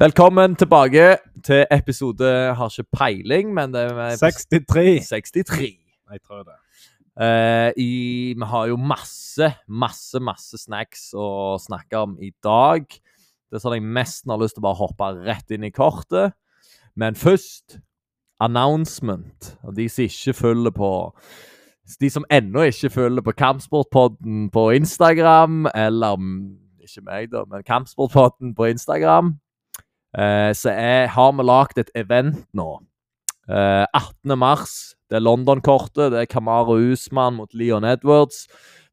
Velkommen tilbake til episode Har ikke peiling, men det er 63. 63. Jeg tror det. Eh, i, vi har jo masse, masse, masse snacks å snakke om i dag. Det er sånn jeg nesten har lyst til å bare hoppe rett inn i kortet. Men først announcement. Og de som ikke følger på De som ennå ikke følger på Kampsportpodden på Instagram, eller mm, ikke meg, da, men Kampsportpodden på Instagram, eh, så er, har vi lagd et event nå. Eh, 18. mars. Det er London-kortet. Det er Kamara Usman mot Leon Edwards.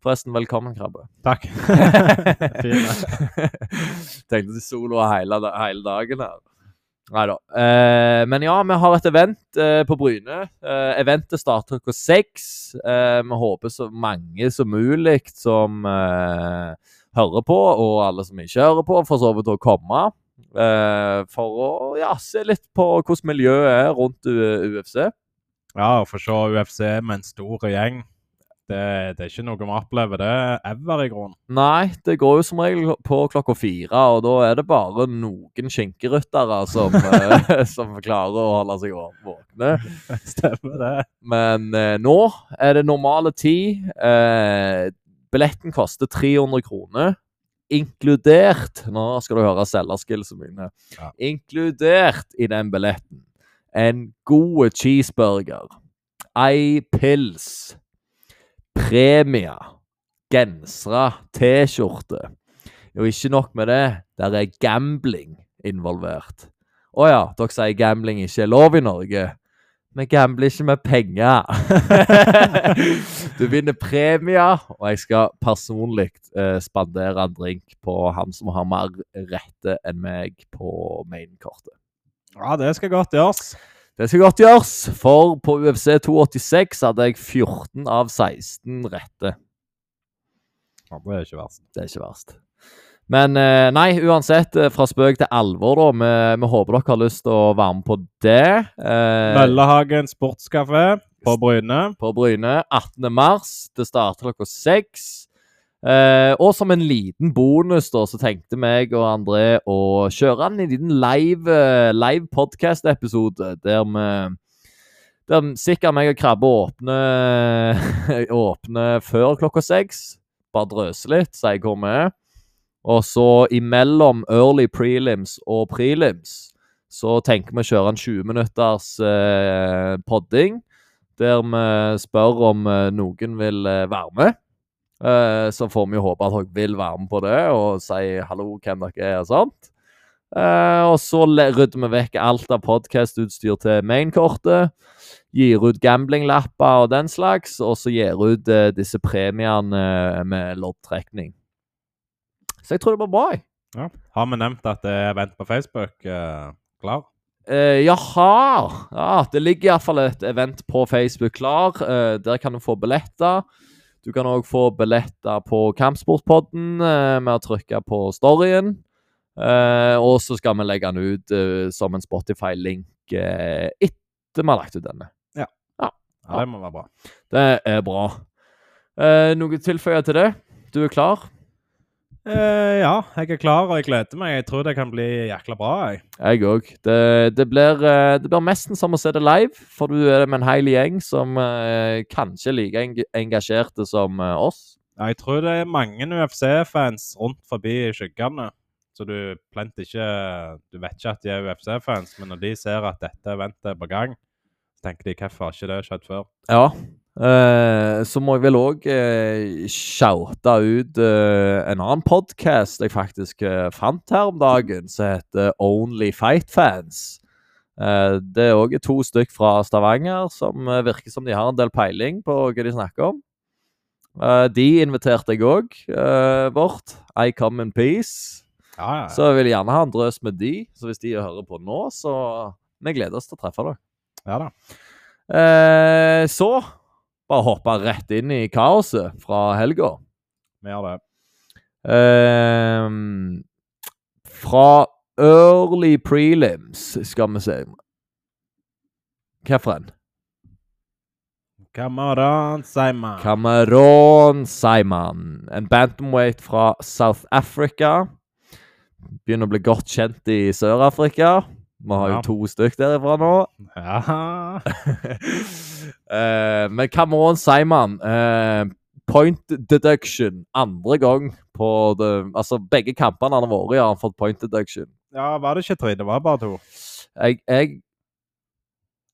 Forresten, velkommen, Krabbe. Takk. Fin, Tenkte til solo hele, da- hele dagen her. Nei da. Eh, men ja, vi har et event eh, på Bryne. Eh, eventet starter klokka seks. Eh, vi håper så mange som mulig som eh, hører på, og alle som ikke hører på, for så vidt å komme. Eh, for å ja, se litt på hvordan miljøet er rundt U UFC. Ja, å få se UFC med en stor gjeng, det, det er ikke noe vi opplever det ever, i grunnen. Nei, det går jo som regel på klokka fire, og da er det bare noen skinkeryttere som, eh, som klarer å holde seg å- våkne. Stemmer det. Men eh, nå er det normale tid. Eh, billetten koster 300 kroner, inkludert Nå skal du høre selgerskillsene mine. Ja. Inkludert i den billetten en god cheeseburger, ei pils, premie, gensere, T-skjorte. Og ikke nok med det, der er gambling involvert. Å ja, dere sier gambling ikke er lov i Norge. Vi gambler ikke med penger. du vinner premier, og jeg skal personlig eh, spandere en drink på han som har mer rette enn meg på mainkortet. Ja, det skal godt gjøres. Det skal godt gjøres, for på UFC 286 hadde jeg 14 av 16 rette. Ja, det er ikke verst. Det er ikke verst. Men eh, nei, uansett, eh, fra spøk til alvor, da. Vi, vi håper dere har lyst til å være med på det. Eh, Møllehagen sportskafé på Bryne. på Bryne 18. mars. Det starter klokka seks. Eh, og som en liten bonus da, så tenkte meg og André å kjøre en liten live, eh, live podcast-episode der vi der sikkert meg og Krabbe åpner, åpner før klokka seks. Bare drøse litt, sier hvor vi er. Og så imellom early prelims og prelims så tenker vi å kjøre en 20 minutters eh, podding der vi spør om eh, noen vil eh, være med. Eh, Så får vi jo håpe at dere vil være med på det, og si hallo, hvem dere er og sånt. Eh, Og så le- rydder vi vekk alt av podkastutstyr til mainkortet. Gir ut gamblinglapper og den slags, og så gir ut eh, disse premiene eh, med loddtrekning. Så jeg tror det blir bra. jeg. Ja. Har vi nevnt at det er event på Facebook? eh, klar? Eh, jaha! Ja, det ligger iallfall et event på Facebook klar. Eh, der kan du få billetter. Du kan òg få billetter på Kampsportpodden eh, med å trykke på storyen. Eh, og så skal vi legge den ut eh, som en Spotify-link eh, etter vi har lagt ut denne. Ja, det må være bra. Det er bra. Eh, noe tilføye til det? Du er klar? Eh, ja, jeg er klar, og jeg gleder meg. Jeg tror det kan bli jækla bra. jeg. Jeg òg. Det, det, blir, eh, det blir nesten som å se det live, for du er med en hel gjeng som eh, kanskje er like eng engasjerte som eh, oss. Ja, Jeg tror det er mange UFC-fans rundt forbi i skyggene. Så du plent ikke Du vet ikke at de er UFC-fans, men når de ser at dette eventet er på gang, så tenker de hvorfor har ikke det skjedd før? Ja. Eh, så må jeg vel òg eh, shoute ut eh, en annen podkast jeg faktisk eh, fant her om dagen, som heter Only Fight Fans. Eh, det er òg to stykk fra Stavanger som eh, virker som de har en del peiling på hva de snakker om. Eh, de inviterte jeg òg eh, bort. I come in peace. Ja, ja, ja. Så jeg vil gjerne ha en drøs med de. Så hvis de hører på nå, så vi gleder oss til å treffe dere. ja da. Eh, så bare hoppe rett inn i kaoset fra helga. Vi gjør det. Eh, fra early prelims, skal vi se Hvilken? Kamaran Seiman. Cameron Simon. En bantamweight fra South Africa. begynner å bli godt kjent i Sør-Afrika. Vi har Ja. jo to stykk derifra nå. Ja. Eh, men come on, Simon. Eh, point deduction. Andre gang på det Altså, begge kampene han har vært i, har han fått point deduction. ja, var det ikke tre? Det var bare to. Jeg, jeg,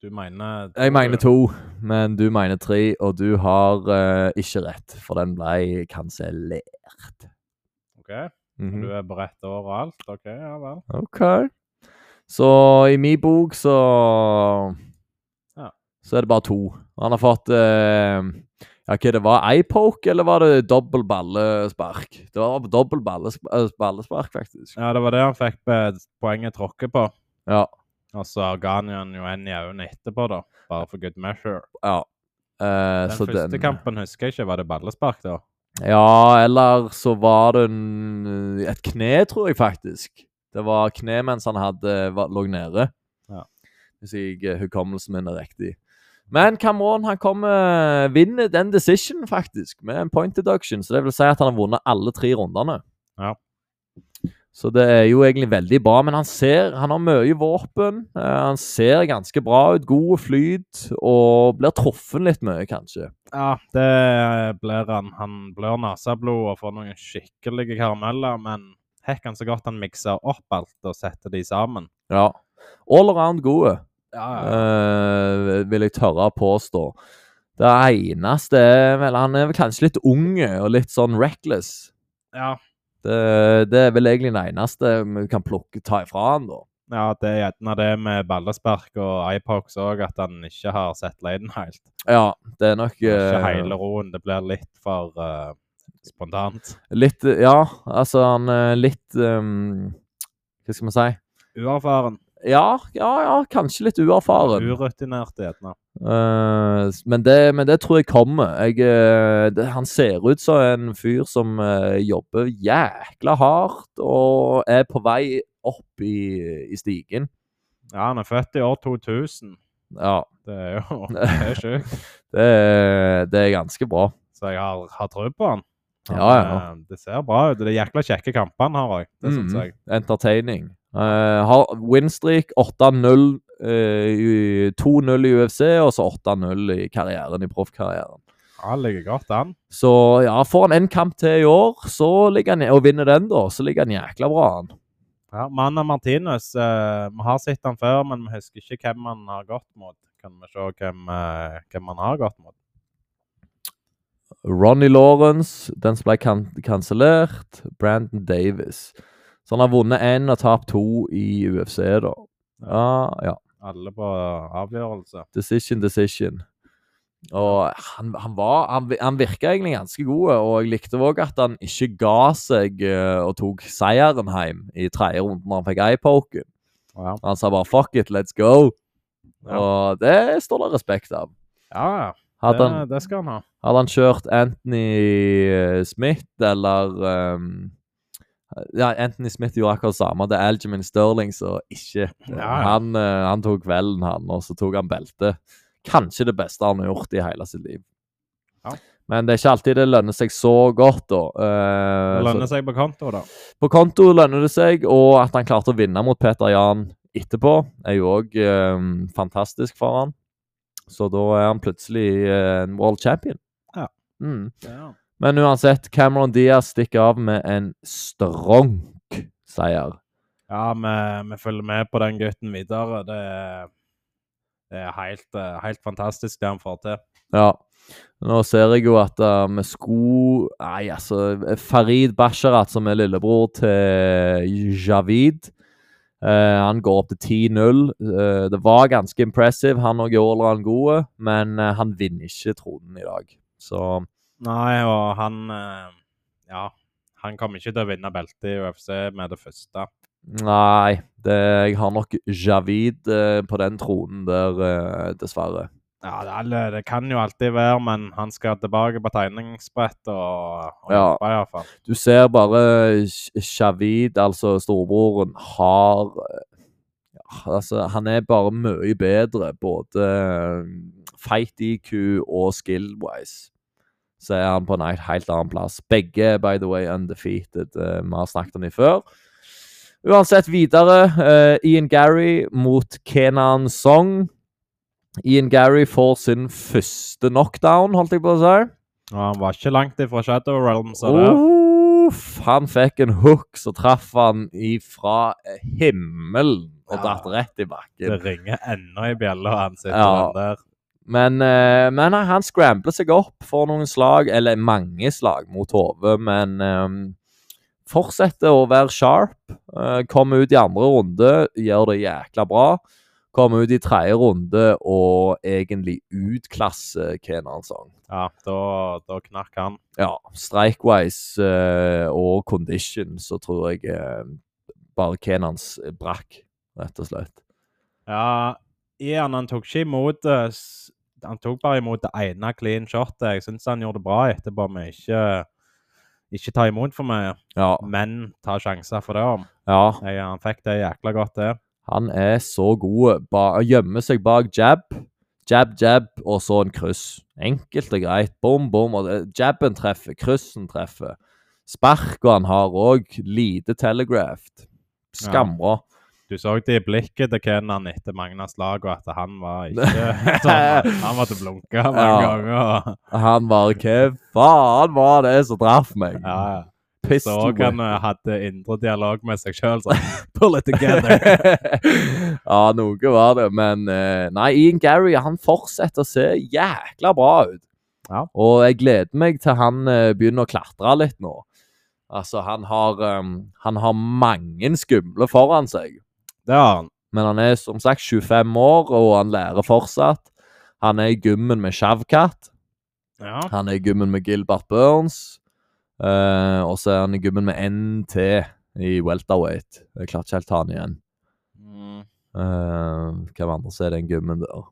Du mener jeg mener to, men du mener tre, og du har eh, ikke rett, for den ble kansellert. Mhm. Ok, Du er på rett år og alt? OK, ja vel. OK. Så i min bok så Ja. Så er det bare to. Han har fått eh, Ja, hva det var Eyepoke, eller var det dobbel ballespark? Det var dobbel ballesp- eh, ballespark, faktisk. Ja, det var det han fikk be- poenget tråkket på. Ja. Og så ga han han jo en i øynene etterpå, da. Bare for good measure. ja. Eh, Altså, Den så første kampen husker jeg ikke. Var det ballespark, da? Ja, eller så var det en, eh, et kne, tror jeg faktisk. Det var kne mens han hadde, var, lå nede. Ja. Hvis jeg eh, hukommelsen min er riktig. Men Cameron han kommer, vinner den decision, faktisk, med en point deduction. Så det vil si at han har vunnet alle tre rundene. Ja. Så det er jo egentlig veldig bra, men han ser, han har mye våpen. eh, Han ser ganske bra ut, god flyt, og blir truffet litt mye, kanskje. Ja, det blir han. Han blør neseblod og får noen skikkelige karameller, men hekk han så godt han mikser opp alt og setter de sammen. Ja. All around gode. Ja, Eh, vil jeg tørre å påstå. Det eneste er vel Han er vel kanskje litt unge og litt sånn reckless. ja. Det, det er vel egentlig det eneste vi kan plukke, ta ifra han, da. ja det er gjerne det med ballespark og iPox òg, at han ikke har sett leiden helt. Ja, det er nok Ikke eh, hele roen. Det blir litt for eh, spontant. litt Ja, altså han er litt ehm, Hva skal man si? Uerfaren. Ja, ja, ja, kanskje litt uerfaren. Urutinert, gjerne. Eh, s- men, det, men det tror jeg kommer. Jeg, eh, det, han ser ut som en fyr som eh, jobber jækla hardt og er på vei opp i, i stigen. Ja, han er født i år 2000. Ja, Det er jo det er sjukt. det, er- det er ganske bra. Så jeg har, har tro på han. Han, Ja, ja. eh, Det ser bra ut. Det er jækla kjekke kamper han har òg. Det syns Mhm. jeg. Entertaining. Eh, har winstreak 8-0 eh, i- 2-0 i UFC og så 8-0 i karrieren, i proffkarrieren. Han ligger godt an. Så ja, får han en kamp til i år så ligger han, og vinner den, da, så ligger han jækla bra an. Ja, Manna Martinez. eh, vi har sett han før, men vi husker ikke hvem han har gått mot. Kan vi se hvem, eh, hvem han har gått mot? Ronny Lawrence, den som ble kan kansellert. Brandon Davis. Så han har vunnet én og tapt to i UFC, da. Ja, ja. Alle på avgjørelse. Decision, decision. Og han, han var han, vi- han virka egentlig ganske god, og jeg likte òg at han ikke ga seg eh, og tok seieren hjem i tredje runde når han fikk eyepoken. Ja, Han sa bare 'fuck it, let's go'. Ja. Og det står det respekt av. ja. ja. Hadde han, Eh, Det, det skal han ha. Hadde han kjørt Anthony eh, Smith eller ehm, Ja, Anthony Smith gjorde akkurat samme. Det er Algerman Sterling som ikke Ja, ja. han, eh, han tok kvelden, han, og så tok han beltet. Kanskje det beste han har gjort i hele sitt liv. Ja. Men det er ikke alltid det lønner seg så godt, da. Eh, Det så lønner seg på konto, da. på konto lønner det seg, og at han klarte å vinne mot Peter Jan etterpå, er jo òg fantastisk for han. Så da er han plutselig eh, en world champion. Ja. Mm. Ja. Men uansett, Cameron Diaz stikker av med en stronk seier. Ja, vi, vi følger med på den gutten videre. Det er, det er helt, eh, helt fantastisk det han får til. Ja. Nå ser jeg jo at eh, vi skulle Nei, altså Farid Basharat, som er lillebror til Javid eh, Han går opp til 10-0. Eh, det var ganske impressive. Han òg er all-round god, men eh, han vinner ikke tronen i dag. Så Nei, og han eh, Ja, han kommer ikke til å vinne beltet i UFC med det første. Nei, det, jeg har nok Javid eh, på den tronen der, eh, dessverre. Ja, det, er- det kan jo alltid være, men han skal tilbake på tegningsbrett og, og Ja. jobbe, iallfall. Du ser bare Sh- Shavid, altså storebroren, har ja, Altså, han er bare mye bedre, både eh, fight-IQ og skill-wise. Så er han på en helt annen plass. Begge, by the way, undefeated. Eh, Vi har snakket om dem før. Uansett videre. eh, Ian Gary mot Kenan Song. Ian Gary får sin første knockdown, holdt jeg på å si. Og han var ikke langt ifra Shadow Realm, så Oh. det Uff, han fikk en hook, så traff han ifra himmelen og Ja. datt rett i bakken. Det ringer ennå i bjella han sitter sånn Ja. der. Men, eh, men han- han scrambler seg opp for noen slag, eller mange slag mot hodet, men eh, fortsetter å være sharp. Eh, kommer ut i andre runde, gjør det jækla bra. Kommer ut i tredje runde og egentlig utklasser Kenan Song. Ja, da, da knakk han. Ja, strike-wise eh, og condition så tror jeg eh, bare Kenans brakk, rett og slett. Ja, Ian han tok ikke imot det. s- Han tok bare imot det ene clean shotet. Jeg syns han gjorde det bra etterpå med ikke ikke ta imot for meg, Ja, men ta sjanser for det. om. ja. Jeg, han fikk det jækla godt, det. Han er så god. Ba gjemmer seg bak jab. Jab, jab, og så en kryss. Enkelt og greit. Bom, bom. Og det- jabben treffer, kryssen treffer. Sparket han har òg. Lite telegraphed. Skambra. Du så det i blikket til Kenan etter Magnas slag, og at han var ikke sånn. Han måtte blunke mange Ja. ganger. og- Han bare Hva faen var det som traff meg? Ja, Pistol så whip. han eh, hadde indre dialog med seg sjøl, sånn Pull it together! ja, noe var det, men eh, Nei, Ian Gary han fortsetter å se jækla bra ut. Ja. Og jeg gleder meg til han eh, begynner å klatre litt nå. Altså, han har, eh, han har mange skumle foran seg. Det har han. Men han er som sagt 25 år, og han lærer fortsatt. Han er i gymmen med Shavkat. Ja. Han er i gymmen med Gilbert Burns. eh, og så er han i gymmen med NT i welterweight. Jeg klarte ikke helt ta han igjen. Mm. Eh, hvem andre som er den gymmen der?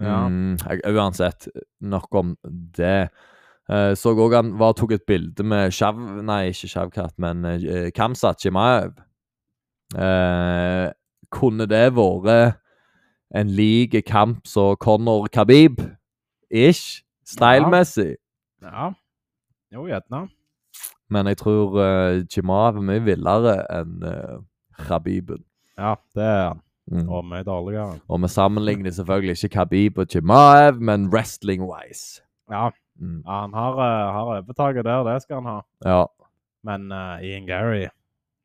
Ja. Mm, jeg, uansett, nok om det. Eh, så òg han var, tok et bilde med Shav... Nei, ikke Shavkat, men uh, Kamsat Shimaev. Eh, kunne det vært en lik kamp som Conor Khabib? Ish. Stylemessig. ja. Jo, gjerne. Men jeg tror uh, Chimaev er mye villere enn uh, Khabiben. Ja, det er han. Mm. Og mye dårligere. Og vi sammenligner selvfølgelig ikke Khabib og Chimaev, men wrestling-wise. Ja, Mm. ja han har, eh, har overtaket der, det skal han ha. Ja, Men eh, Ian Gary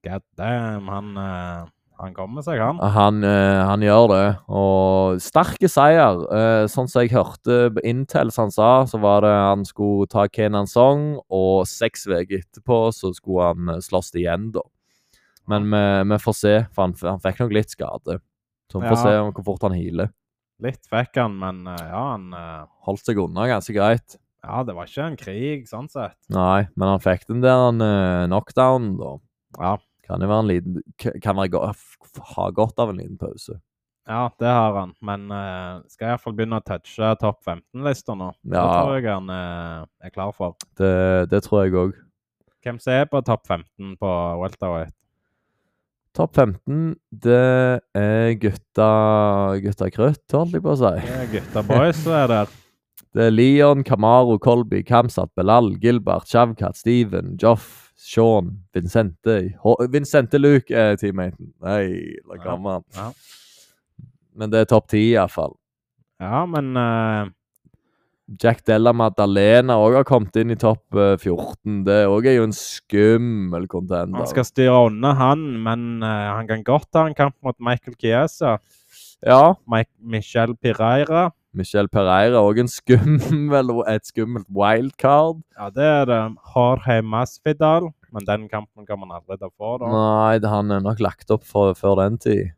God damn, han, eh, han kommer seg, han. han, eh, han gjør det. Og sterke seier. Eh, sånn som jeg hørte på Intel som han sa, så var det han skulle ta Kenan Song, og seks uker etterpå så skulle han eh, slåss igjen, da. Men vi, vi får se, for han, han fikk nok litt skade. Så vi får Ja. se om hvor fort han healer. Litt fikk han, men eh, ja, han eh, Holdt seg unna ganske greit. Ja, det var ikke en krig, sånn sett. Nei, men han fikk den der uh, knockdownen, da. Ja, Kan det være en liten k- Kan være go f- ha godt av en liten pause. ja det har han. Men eh, skal iallfall begynne å touche topp 15-lista nå. Det Ja. tror jeg han eh, er klar for. Det, det tror jeg òg. Hvem som er på topp 15 på welterweight? Topp 15, det er gutta Gutta krutt, holdt jeg på å si. Det er gutta boys som er der. Det er Leon, Kamaro, Colby, Kamsat, Belal, Gilbert, Shavkat, Steven, Joff, Sean, Vincente H Vincente Luke er teammaten. Nei, da Ja, kommer han. ja. Men det er topp ti, iallfall. Ja, men eh, Jack Della Maddalena òg har kommet inn i topp eh, 14. Det òg er jo en skummel contender. han skal styre unna han, men eh, han kan godt ha en kamp mot Michael Chiesa. Ja. Mike Michel Pireira. Michel Pereira òg en skummel, et skummelt wildcard. Ja, det er det. Jorge Masvidal. Men den kampen kommer han aldri til å få, da. Nei, det- han er nok lagt opp for, før den tid.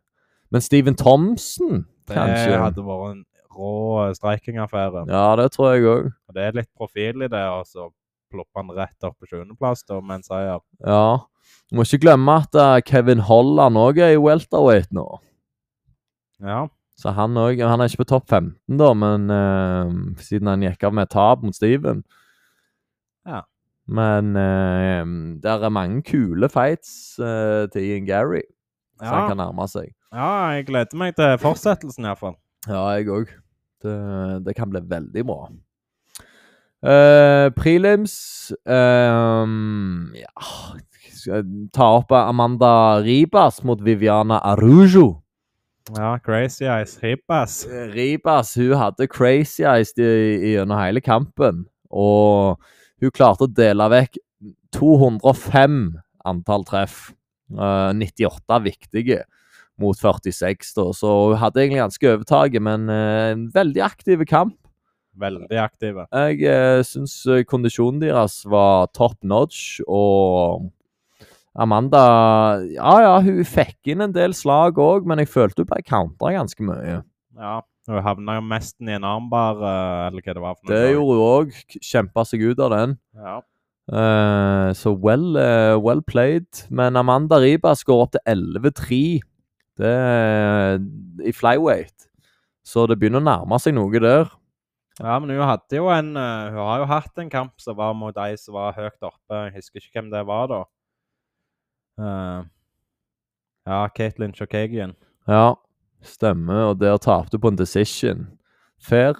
Men Steven Thompson, Det kanskje? hadde vært en rå streikingaffære. Ja, det tror jeg òg. Og Det er litt profil i det, og så plopper han rett opp på 20.-plass da, med en seier. Ja. Du må ikke glemme at eh, Kevin Holland òg er i welterweight nå. Ja. Så han òg Han er ikke på topp 15, da, men eh, siden han gikk av med et tap mot Steven. Ja. Men uh, der er mange kule fights eh, til Ian Gary, så Ja. han kan nærme seg. ja, jeg gleder meg til fortsettelsen iallfall. Ja, jeg òg. Det, det kan bli veldig bra. Eh, prelims ehm, Ja skal jeg Ta opp Amanda Ribas mot Viviana Arujo. Ja, crazy eyes. Hipp, ass. Eh, Ribas hun hadde crazy eyes i- i- gjennom hele kampen. Og hun klarte å dele vekk 205 antall treff. Eh, 98 viktige mot 46, da. Så hun hadde egentlig ganske overtaket, men eh, en veldig aktiv kamp. Veldig aktive. Jeg eh, syns eh, kondisjonen deres var top notch, og Amanda Ja, ja, hun fikk inn en del slag òg, men jeg følte hun ble countra ganske mye. Ja. Hun havna jo mesten i en armbar, eh, eller hva det var. for noe Det sånt. gjorde hun òg. Kjempa seg ut av den. Ja. Eh, så well, eh, well played. Men Amanda Ribas går opp til 11-3 Det er i flyweight. Så det begynner å nærme seg noe der. ja, men hun hadde jo en eh, Hun har jo hatt en kamp som var mot de som var høyt oppe. Jeg husker ikke hvem det var, da. Eh, ja, Katelyn Chokagian. Ja, stemmer. Og der tapte på en decision. Fair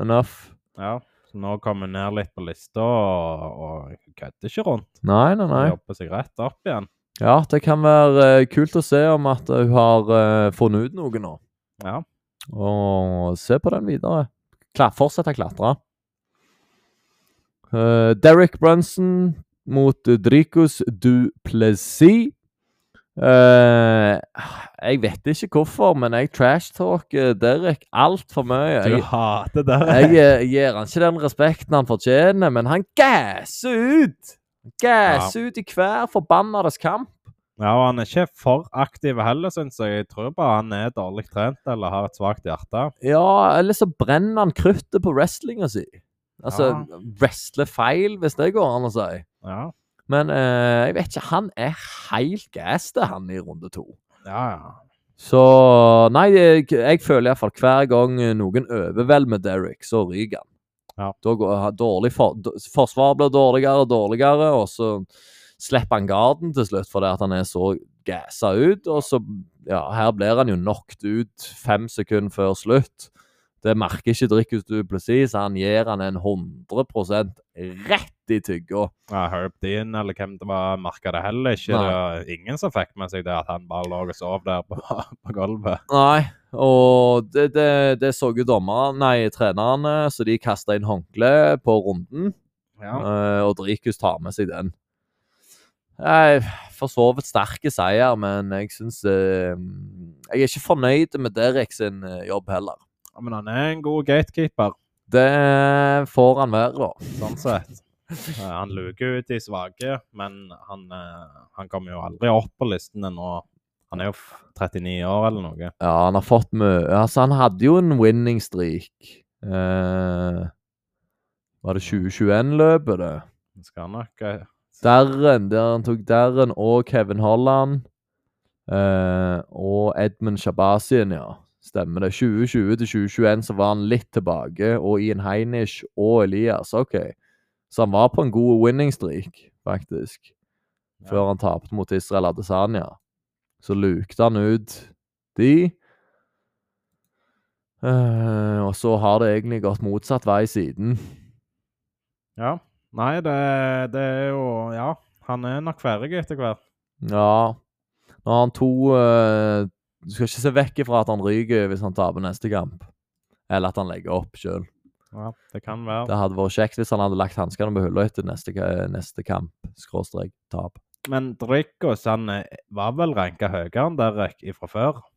enough. Ja. Så nå kommer hun ned litt på lista og, og hun kødder ikke rundt. Nei, nei, Hun nei. jobber seg rett opp igjen. Ja, det kan være eh, kult å se om at eh, hun har eh, funnet ut noe nå. Ja. Og se på den videre. Kla fortsett å klatre. Eh, Derek Brunson mot eh, Dricus du Plessis. Eh, jeg vet ikke hvorfor, men jeg trashtalker Derek altfor mye. Du Jeg, hater det. Jeg eh, gir han ikke den respekten han fortjener, men han gasser ut! Han Gasser ut i hver forbannedes kamp. Ja, og han er ikke for aktiv heller, syns jeg. Jeg tror bare han er dårlig trent eller har et svakt hjerte. Ja, eller så brenner han kruttet på wrestlinga si. Altså, wrestle feil, hvis det går an å si. Ja, Men eh, jeg vet ikke, han er helt gassed, han i runde to. ja. ja. Så Nei, jeg, jeg føler iallfall hver gang noen overvelder Derek, så ryker han. Ja. Da går han dårlig for, d- Forsvaret blir dårligere og dårligere, og så slipper han garden til slutt fordi at han er så gassa ut. Og så Ja, her blir han jo knocked ut fem sekunder før slutt. Det merker ikke Dricus Duplessis. Han gir han en 100 rett i tygga. ja Herb Dean eller hvem det var, merka det heller ikke. Nei. Det var ingen som fikk med seg det at han bare lå og sov der på, på gulvet. Nei, og det, det, det så jo dommerne, nei, trenerne, så de kasta inn håndkle på runden. Ja. eh, og Drikus tar med seg den. Jeg for så vidt sterke seier, men jeg syns eh, Jeg er ikke fornøyd med Derek sin eh, jobb heller. Men han er en god gatekeeper, Det får han være, da. sånn sett. Eh, Han luker ut de svake, men han, eh, han kommer jo aldri opp på listene nå. Han er jo f- 39 år eller noe. Ja, han har fått mye Altså, han hadde jo en winning streak. Eh, var det 2021-løpet, det? Han skal nok eh, Darren, der han tok Darren og Kevin Holland. eh, og Edmund Shabazian, ja. Stemmer det. 2020 til 2021 så var han litt tilbake. Og Ian Heinisch og Elias. OK. Så han var på en god winning streak, faktisk. Ja. Før han tapte mot Israel Adesanya. Så lukte han ut de. Eh, og så har det egentlig gått motsatt vei siden. Ja. Nei, det, det er jo Ja, han er nok ferdig etter hvert. Ja. Nå har han to eh, Du skal ikke se vekk ifra at han ryker hvis han taper neste kamp. Eller at han legger opp sjøl. Ja, det kan være. Det hadde vært kjekt hvis han hadde lagt hanskene på hylla etter neste, ka- neste kamp. Skråstrek tap. Men Dricos han eh, var vel ranka høyere enn Derek fra før. Han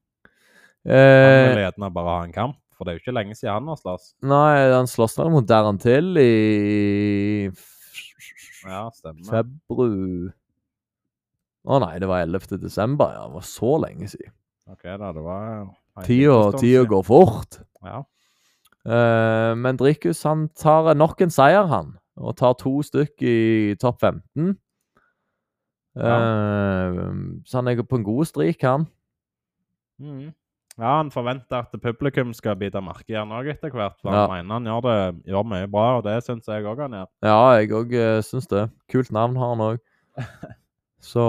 Eh, vil gjerne bare ha en kamp, for det er jo ikke lenge siden han har slåss. nei, han slåss vel mot Darren Till i Ja, stemmer. februar Å nei, det var 11. desember, ja. Det var så lenge siden. OK, da. Det var jo Tida en liten stund tida siden. går fort. Ja. Eh, men Dricus han tar nok en seier, han. Og tar to stykk i topp 15. Eh, så han er på en god strik, han. Mhm. ja, han forventer at publikum skal bite merke i han òg etter hvert. for Ja. Han mener han gjør det gjør mye bra, og det syns jeg òg han gjør. Ja, jeg òg uh, syns det. Kult navn har han òg. Så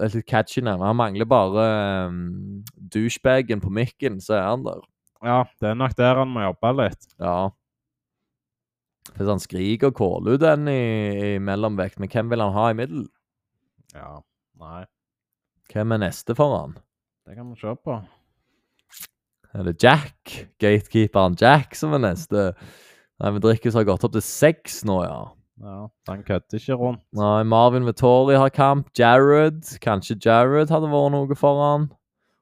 et litt catchy navn. Han mangler bare um, douchebagen på mikken, så er han der. Ja, det er nok der han må jobbe litt. Ja. Hvis han skriker og caller ut en i, i mellomvekt, men hvem vil han ha i middel? Ja. Nei, Hvem er neste for han? det kan vi se på. Er det Jack? Gatekeeperen Jack som er neste? Nei, men Drickus har gått opp til seks nå, ja. Ja, Han kødder ikke rundt. Nei, Marvin Vittori har kamp. Jared. Kanskje Jared hadde vært noe for han.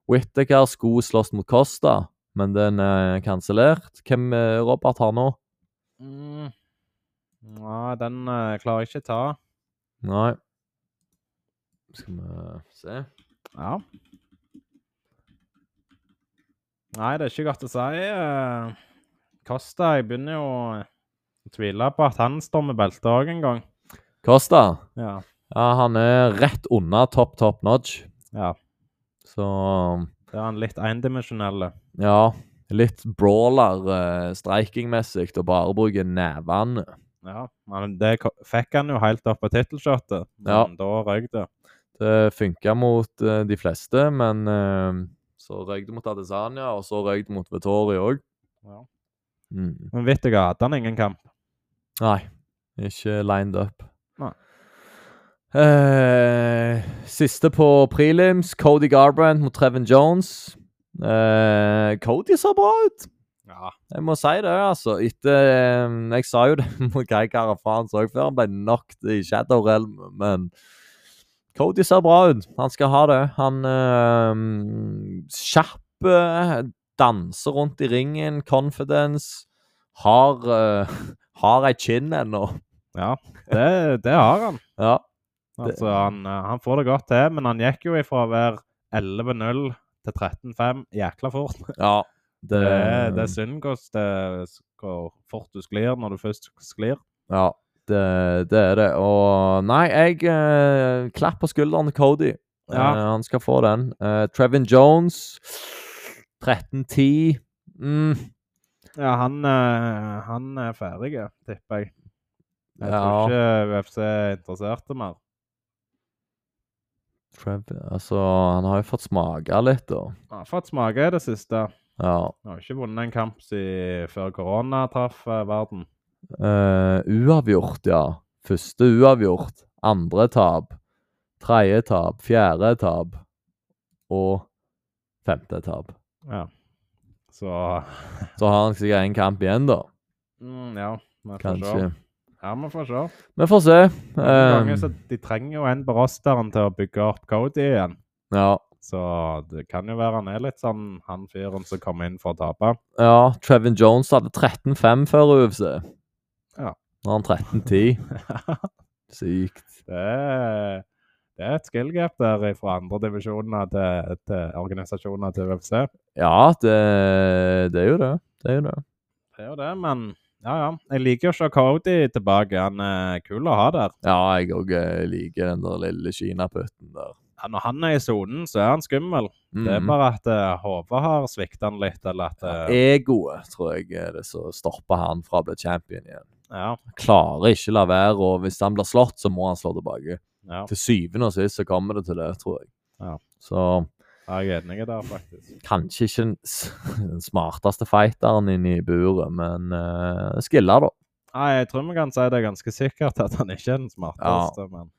Whittaker skulle slåss mot Costa, men den er kansellert. Hvem eh, Robert har nå? Mm. Nei, den eh, klarer jeg ikke ta. Nei. Skal vi se Ja. Nei, det er ikke godt å si. eh. Costa, jeg begynner jo å tvile på at han står med belte òg en gang. Costa? Ja. Ja, han er rett unna topp, topp notch. ja. Så um, Det er han litt endimensjonelle. ja. Litt brawler eh, striking-messig og bare bruker nevene. Ja, men det ko- fikk han jo helt opp på tittelshirtet. Ja. Men Da røyk det. Det funka mot eh, de fleste, men eh, så røyk det mot Adesanya, og så røyk det mot Vettori òg. Ja. Mm. Men vet du hva, hadde han ingen kamp? Nei, ikke lined up. Nei. Eh, siste på prelims, Cody Garbrandt mot Trevin Jones. Eh, Cody så bra ut! Ja. Jeg må si det, altså. Etter eh, Jeg sa jo det mot Kai Karafans òg før han ble knocked i Shadow Realm, men Cody ser bra ut. Han skal ha det. Han eh, kjapp, eh, danser rundt i ringen, confidence. Har eh, Har ei kinn ennå. Ja, det, det har han. Ja. Altså, han, eh, han får det godt til, men han gikk jo ifra å være 11-0 til 13-5 jækla fort. ja. Det, Det, det er synd hvordan det, hvor fort du sklir når du først sklir. ja, det, det er det. Og nei, jeg eh, klapper på skulderen til Cody. Ja. Eh, han skal få den. Eh, Trevin Jones 13-10. Mm, Ja, han, eh, han er ferdig, tipper jeg. Jeg Ja. tror ikke UFC er interessert i mer. Trev- altså, han har jo fått smake litt, da. Han har fått smake i det siste. Ja. Han har ikke vunnet en kamp siden før korona traff eh, verden. Eh, uavgjort, ja. Første uavgjort. Andre tap. Tredje tap. Fjerde tap. Og femte tap. Ja. Så Så har han sikkert én kamp igjen, da. mm, Ja, vi får se. Kanskje. Ja, vi får se. Vi får se. Noen Eh, ganger så de trenger jo en på rosteren til å bygge opp Cody igjen. ja. Så det kan jo være han er litt sånn han fyren som kommer inn for å tape. ja. Trevin Jones hadde 13-5 før UFC. Ja. Nå har han 13-10. Sykt. det, er, det er et skill gap der fra andre divisjoner til, til organisasjoner til UFC. Ja, det, det er jo det. Det er jo det. Det er jo det, men ja, ja. Jeg liker jo å se Cody tilbake. Han er kul å ha der. Ja, jeg òg liker den der lille kinaputten der. Ja, når han er i sonen, så er han skummel. Det er Mhm. bare at eh, hodet har svikta han litt, eller at eh, Egoet tror jeg er det som stopper han fra å bli champion igjen. Ja. Klarer ikke la være, og hvis han blir slått, så må han slå tilbake. ja. Til syvende og sist så kommer det til det, tror jeg. Ja. Så Jeg er enig der, faktisk. kanskje ikke den, s- den smarteste fighteren inne i buret, men uh, skiller, da. Nei, jeg tror vi kan si det ganske sikkert at han ikke er den smarteste, men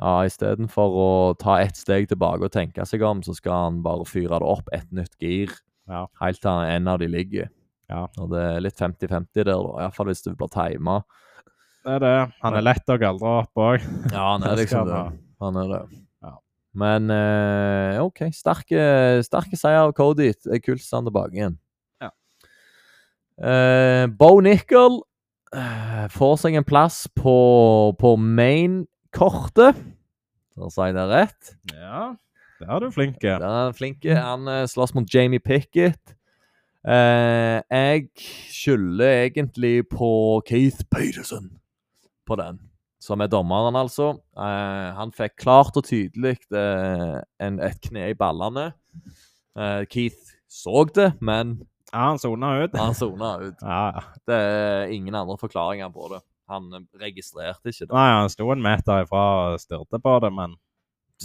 Ja, Istedenfor å ta ett steg tilbake og tenke seg om, så skal han bare fyre det opp et nytt gir. Ja. Helt til en av de ligger. Ja. Og det er litt 50-50 der, da. Iallfall hvis du blir tima. det er det. Han er lett å galdre opp òg. Ja, han er Det skal liksom det. han Han er det. Ja. Men eh, OK, sterke, sterke seier av Cody. Det er kult å se han tilbake igjen. Ja. Eh, Bo Nickel eh, får seg en plass på, på main-kortet. Da sa jeg det rett. Ja, der er du flink. Ja, han er flink. Han eh, slåss mot Jamie Pickett. Eh, jeg skylder egentlig på Keith Peterson på den, som er dommeren, altså. Eh, han fikk klart og tydelig eh, en, et kne i ballene. Eh, Keith så det, men Ja, han sona ut. han sona ut. Ja. ja. Det er ingen andre forklaringer på det. Han eh, registrerte ikke det. Nei, han sto en meter ifra og styrte på det, men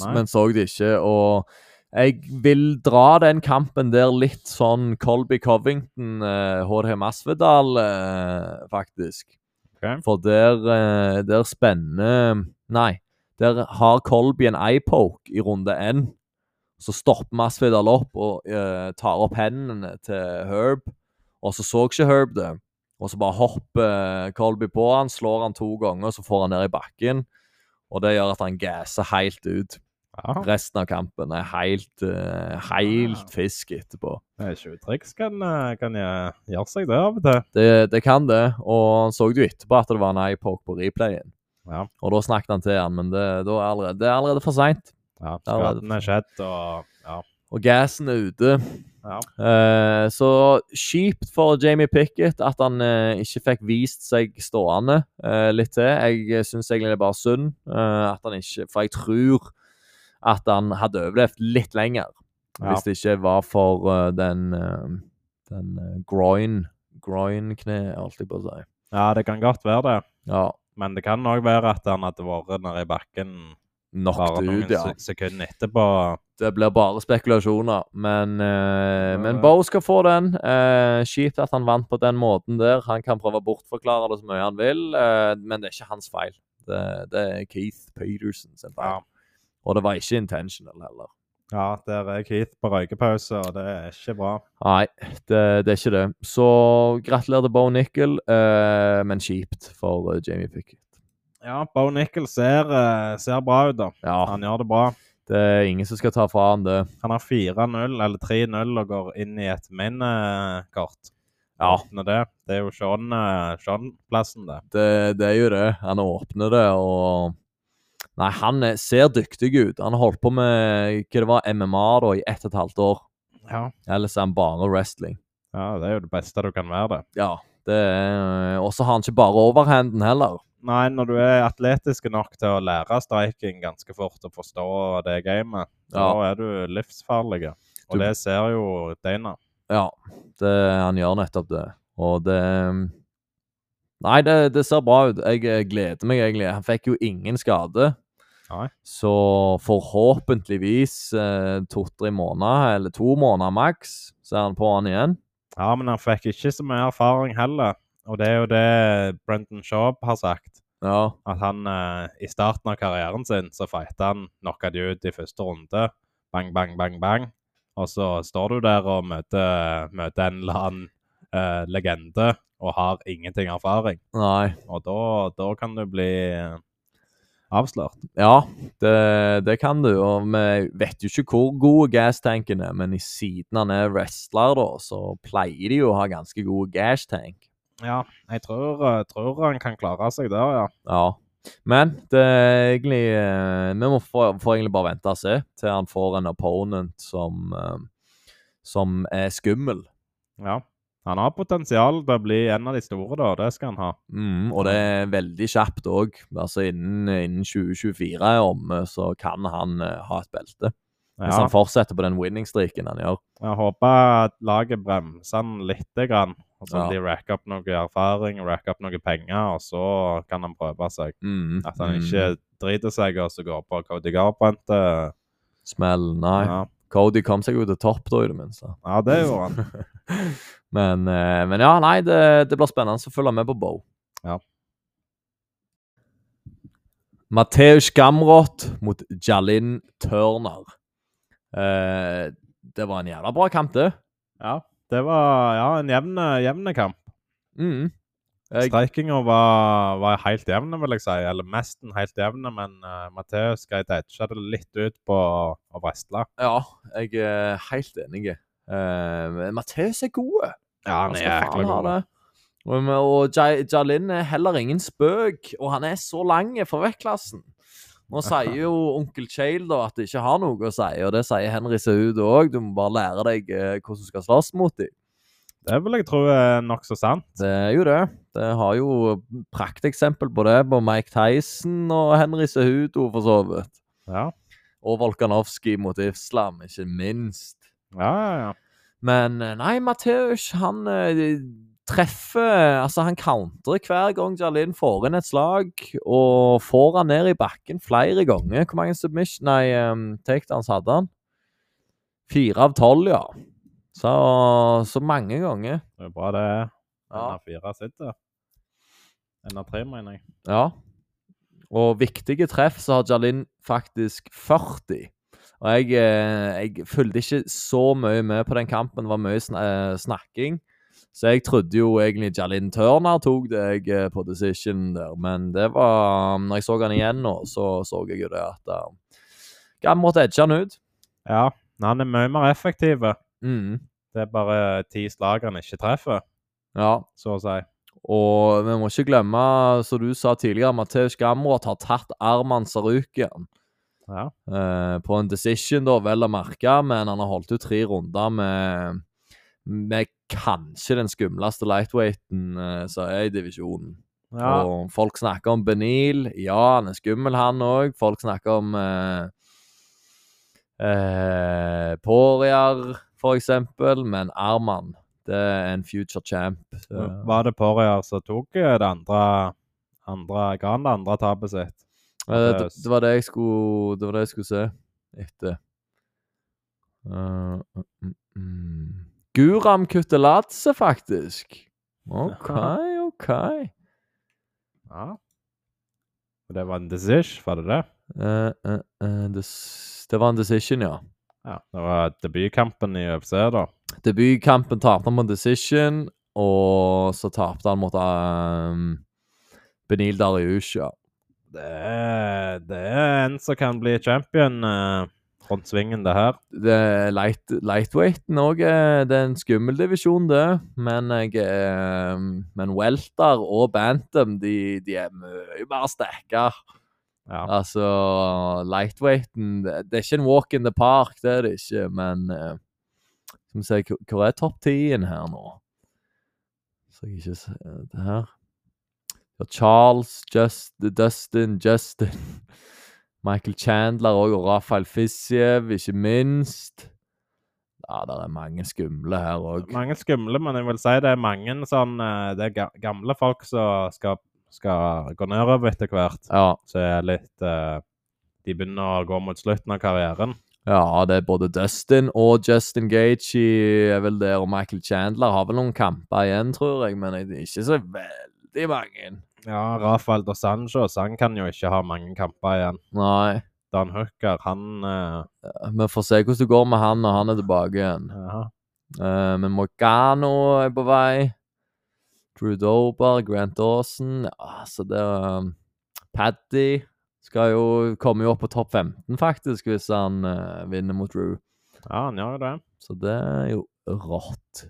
Nei. men så det ikke. Og jeg vil dra den kampen der litt sånn Colby Covington, eh, HDH Masvidal, eh, faktisk. Ok. For der, eh, der spenner Nei, der har Colby en eyepoke i runde én. Så stopper Masvidal opp og eh, tar opp hendene til Herb. Og så så ikke Herb det. Og så bare hopper eh, Colby på han, slår han to ganger, så får han ned i bakken. Og det gjør at han gasser helt ut. Ja, Resten av kampen er helt, eh, Ah. helt fisk etterpå. det er tjuvtriks kan, eh, kan jeg gjøre seg det av og til. Det, det kan det, og han så det jo etterpå at det var en eyepoke på replayen. Ja. Og da snakket han til han, men det, da er allerede, det er allerede for seint. Ja, Ja, det- skaden er skjedd, og ja. Og gassen er ute. ja. Eh, så kjipt for Jamie Pickett at han eh, ikke fikk vist seg stående eh, litt til. Jeg eh, syns egentlig det er bare synd eh, at han ikke For jeg tror at han hadde overlevd litt lenger Ja. hvis det ikke var for eh, den, eh, den eh, groin Groin-kne, holdt jeg på å si. ja, det kan godt være det. Ja, Men det kan òg være at han hadde vært nede i bakken knocked bare noen ut, ja. se- sekunder etterpå. Det blir bare spekulasjoner, men, eh, Ja, men det- Bo skal få den. Eh, Kjipt at han vant på den måten der. Han kan prøve å bortforklare det så mye han vil, eh, men det er ikke hans feil. Det, det er Keith Peterson sin feil. Ja. Og det var ikke intentional heller. ja, der er Keith på røykepause, og det er ikke bra. Nei, det, det er ikke det. Så gratulerer til Bo Nickel, eh, men kjipt for eh, Jamie Pickett. Ja, Bo Nickel ser, eh, ser bra ut, da. Ja, Han gjør det bra. det er ingen som skal ta fra han det. Han har 4-0 eller 3-0 og går inn i et minnekort. Ja, Åpner Det. det er jo eh, Sean-plassen, det. det, det er jo det. Han åpner det, og Nei, han er- ser dyktig ut. Han har holdt på med hva det var, MMA da, i ett og et halvt år. Ja. Ellers er han bare wrestling. ja, det er jo det beste du kan være, det. Ja, det er Og så har han ikke bare overhanden heller. Nei, når du er atletisk nok til å lære striking ganske fort og forstå det gamet, da Ja. er du livsfarlig. Og Du- det ser jo Dana. Ja, det, han gjør nettopp det. Og det Nei, det, det ser bra ut. Jeg eh, gleder meg egentlig. Han fikk jo ingen skade. Nei. Så forhåpentligvis eh, to-tre måneder, eller to måneder maks, så er han på han igjen. Ja, men han fikk ikke så mye erfaring heller. Og det er jo det Brendan Shaw har sagt. Ja. At han eh, i starten av karrieren sin så fighta han knocka de ut i første runde. Bang, bang, bang, bang. Og så står du der og møter, møter en eller annen eh, legende og har ingenting erfaring. Nei. Og da, da kan du bli eh, avslørt. Ja, det, det kan du. Og vi vet jo ikke hvor gode gastanken er, men i siden han er wrestler, da, så pleier de jo å ha ganske gode gastank. Ja, jeg tror, eh, tror han kan klare seg der, ja. Ja. Men det er egentlig eh, Vi må få, får egentlig bare vente og se til han får en opponent som, eh, som er skummel. ja. Han har potensial til å bli en av de store, da. Det skal han ha. Mm, og det er veldig kjapt òg. Altså innen, innen 2024 er omme, så kan han eh, ha et belte. Hvis Ja. han fortsetter på den winning-streaken han gjør. Jeg håper at laget bremser han lite grann. og Så Ja. de racker opp noe erfaring, racker opp noe penger, og så kan han prøve seg. Mm, At han mm. ikke driter seg og så går på Cody Garbrandt. eh, Smell, nei. Ja. Cody kom seg jo til topp, da, i det minste. ja, det gjorde han. Men, eh, men ja, nei, det, det blir spennende å følge med på Bow. Ja. Mateus Gamrot mot Jalin Turner. Eh, det var en jævla bra kamp, det. Ja, det var ja, en jevn, jevn kamp. Mm. Jeg- Streikinga var, var helt jevne, vil jeg si. Eller mesten helt jevne, men uh, Matheus greide å edge det litt ut på å wrestle. ja, jeg er helt enig. Eh, men Mateus er god. Ja, Han skal faen ha det. Og, men- og Ja- Jalin er heller ingen spøk, og han er så lang for vektklassen. Nå sier jo onkel Chale da at det ikke har noe å si, og det sier Henry Saude òg. Du må bare lære deg eh, hvordan du skal slåss mot dem. Det vil jeg tro er nokså sant. Det er jo det. Det har jo prakteksempel på det på Mike Tyson og Henry Saudo, for så vidt. Ja, Og Volkanovskij mot Islam, ikke minst. ja, ja. ja. Men eh, nei, Mateus, han eh, treffer Altså, han countrer hver gang Jalin får inn et slag, og får han ned i bakken flere ganger. Hvor mange submission Nei, um, takedowns hadde han? Fire av tolv, ja. Så, så mange ganger. Det er bra det. Ja. Ja. Fire sitter. En av tre, mener jeg. Ja. Og viktige treff så har Jalin faktisk 40. Og jeg, eh, jeg fulgte ikke så mye med på den kampen. Det var mye sn eh, snakking. Så jeg trodde jo egentlig Jalin Turner tok det jeg eh, på decision der, men det var mm, Når jeg så han igjen nå, så så jeg jo det at uh, Gamrot edga han ut. Ja, men han er mye mer effektiv. Mm, Det er bare ti slag han ikke treffer, ja. så å si. Og vi må ikke glemme, som du sa tidligere, Mateusz Gamrot har tatt Arman Sarukian Ja. eh, på en decision, da, vel å merke, men han har holdt ut tre runder med, med kanskje den skumleste lightweighten eh, som er i divisjonen. ja. Og folk snakker om Benil. Ja, han er skummel, han òg. Folk snakker om eh, eh, Poirier, for eksempel, men Arman, det er en future champ. så- Var det Poirier som tok eh, det andre, andre Ga han det andre tapet sitt? Ja, Eh, det, At det- det- det var det jeg skulle Det var det jeg skulle se etter. Eh, mm, mm. Guram Kutelatse, faktisk. OK, OK. Eh, Ja. Og det var en decision, var det det? Eh, eh, eh, det, s- det var en decision, ja. Ja. Det var debutkampen i UFC, da. Debutkampen tapte han på en decision, og så tapte han mot um, Benil Dariush, ja. Det er, det er en som kan bli champion eh, rundt svingen, det her. det, light, lightweighten òg Det er en skummel divisjon, det. Men, jeg, eh, men welter og bantam de, de er mye mer sterke. Ja. Altså, lightweighten det, det er ikke en walk in the park, det er det ikke. Men eh, skal vi se, hvor- hvor er topp ti-en her nå? Så jeg ikke ser det her. Ja, Charles, Just, Dustin, Justin Michael Chandler og, og Rafael Fiziev, ikke minst. Ja, det er mange skumle her òg. Mange skumle, men jeg vil si det er mange sånn eh, Det er ga gamle folk som skal, skal gå nedover etter hvert. Ja, Så er litt eh, De begynner å gå mot slutten av karrieren. ja, det er både Dustin og Justin Gaethje er vel der, og Michael Chandler har vel noen kamper igjen, tror jeg, men det er ikke så veldig mange. Ja, Rafael dos Anjos han kan jo ikke ha mange kamper igjen. Nei. Dan Hooker, han eh, Vi får se hvordan det går med han når han er tilbake igjen. ja, Eh, men Morgano er på vei. Drew Dober, Grant Dawson ja, Så det er Paddy skal jo komme jo opp på topp 15, faktisk, hvis han eh, vinner mot Drew. ja, han gjør jo det. Så det er jo rått.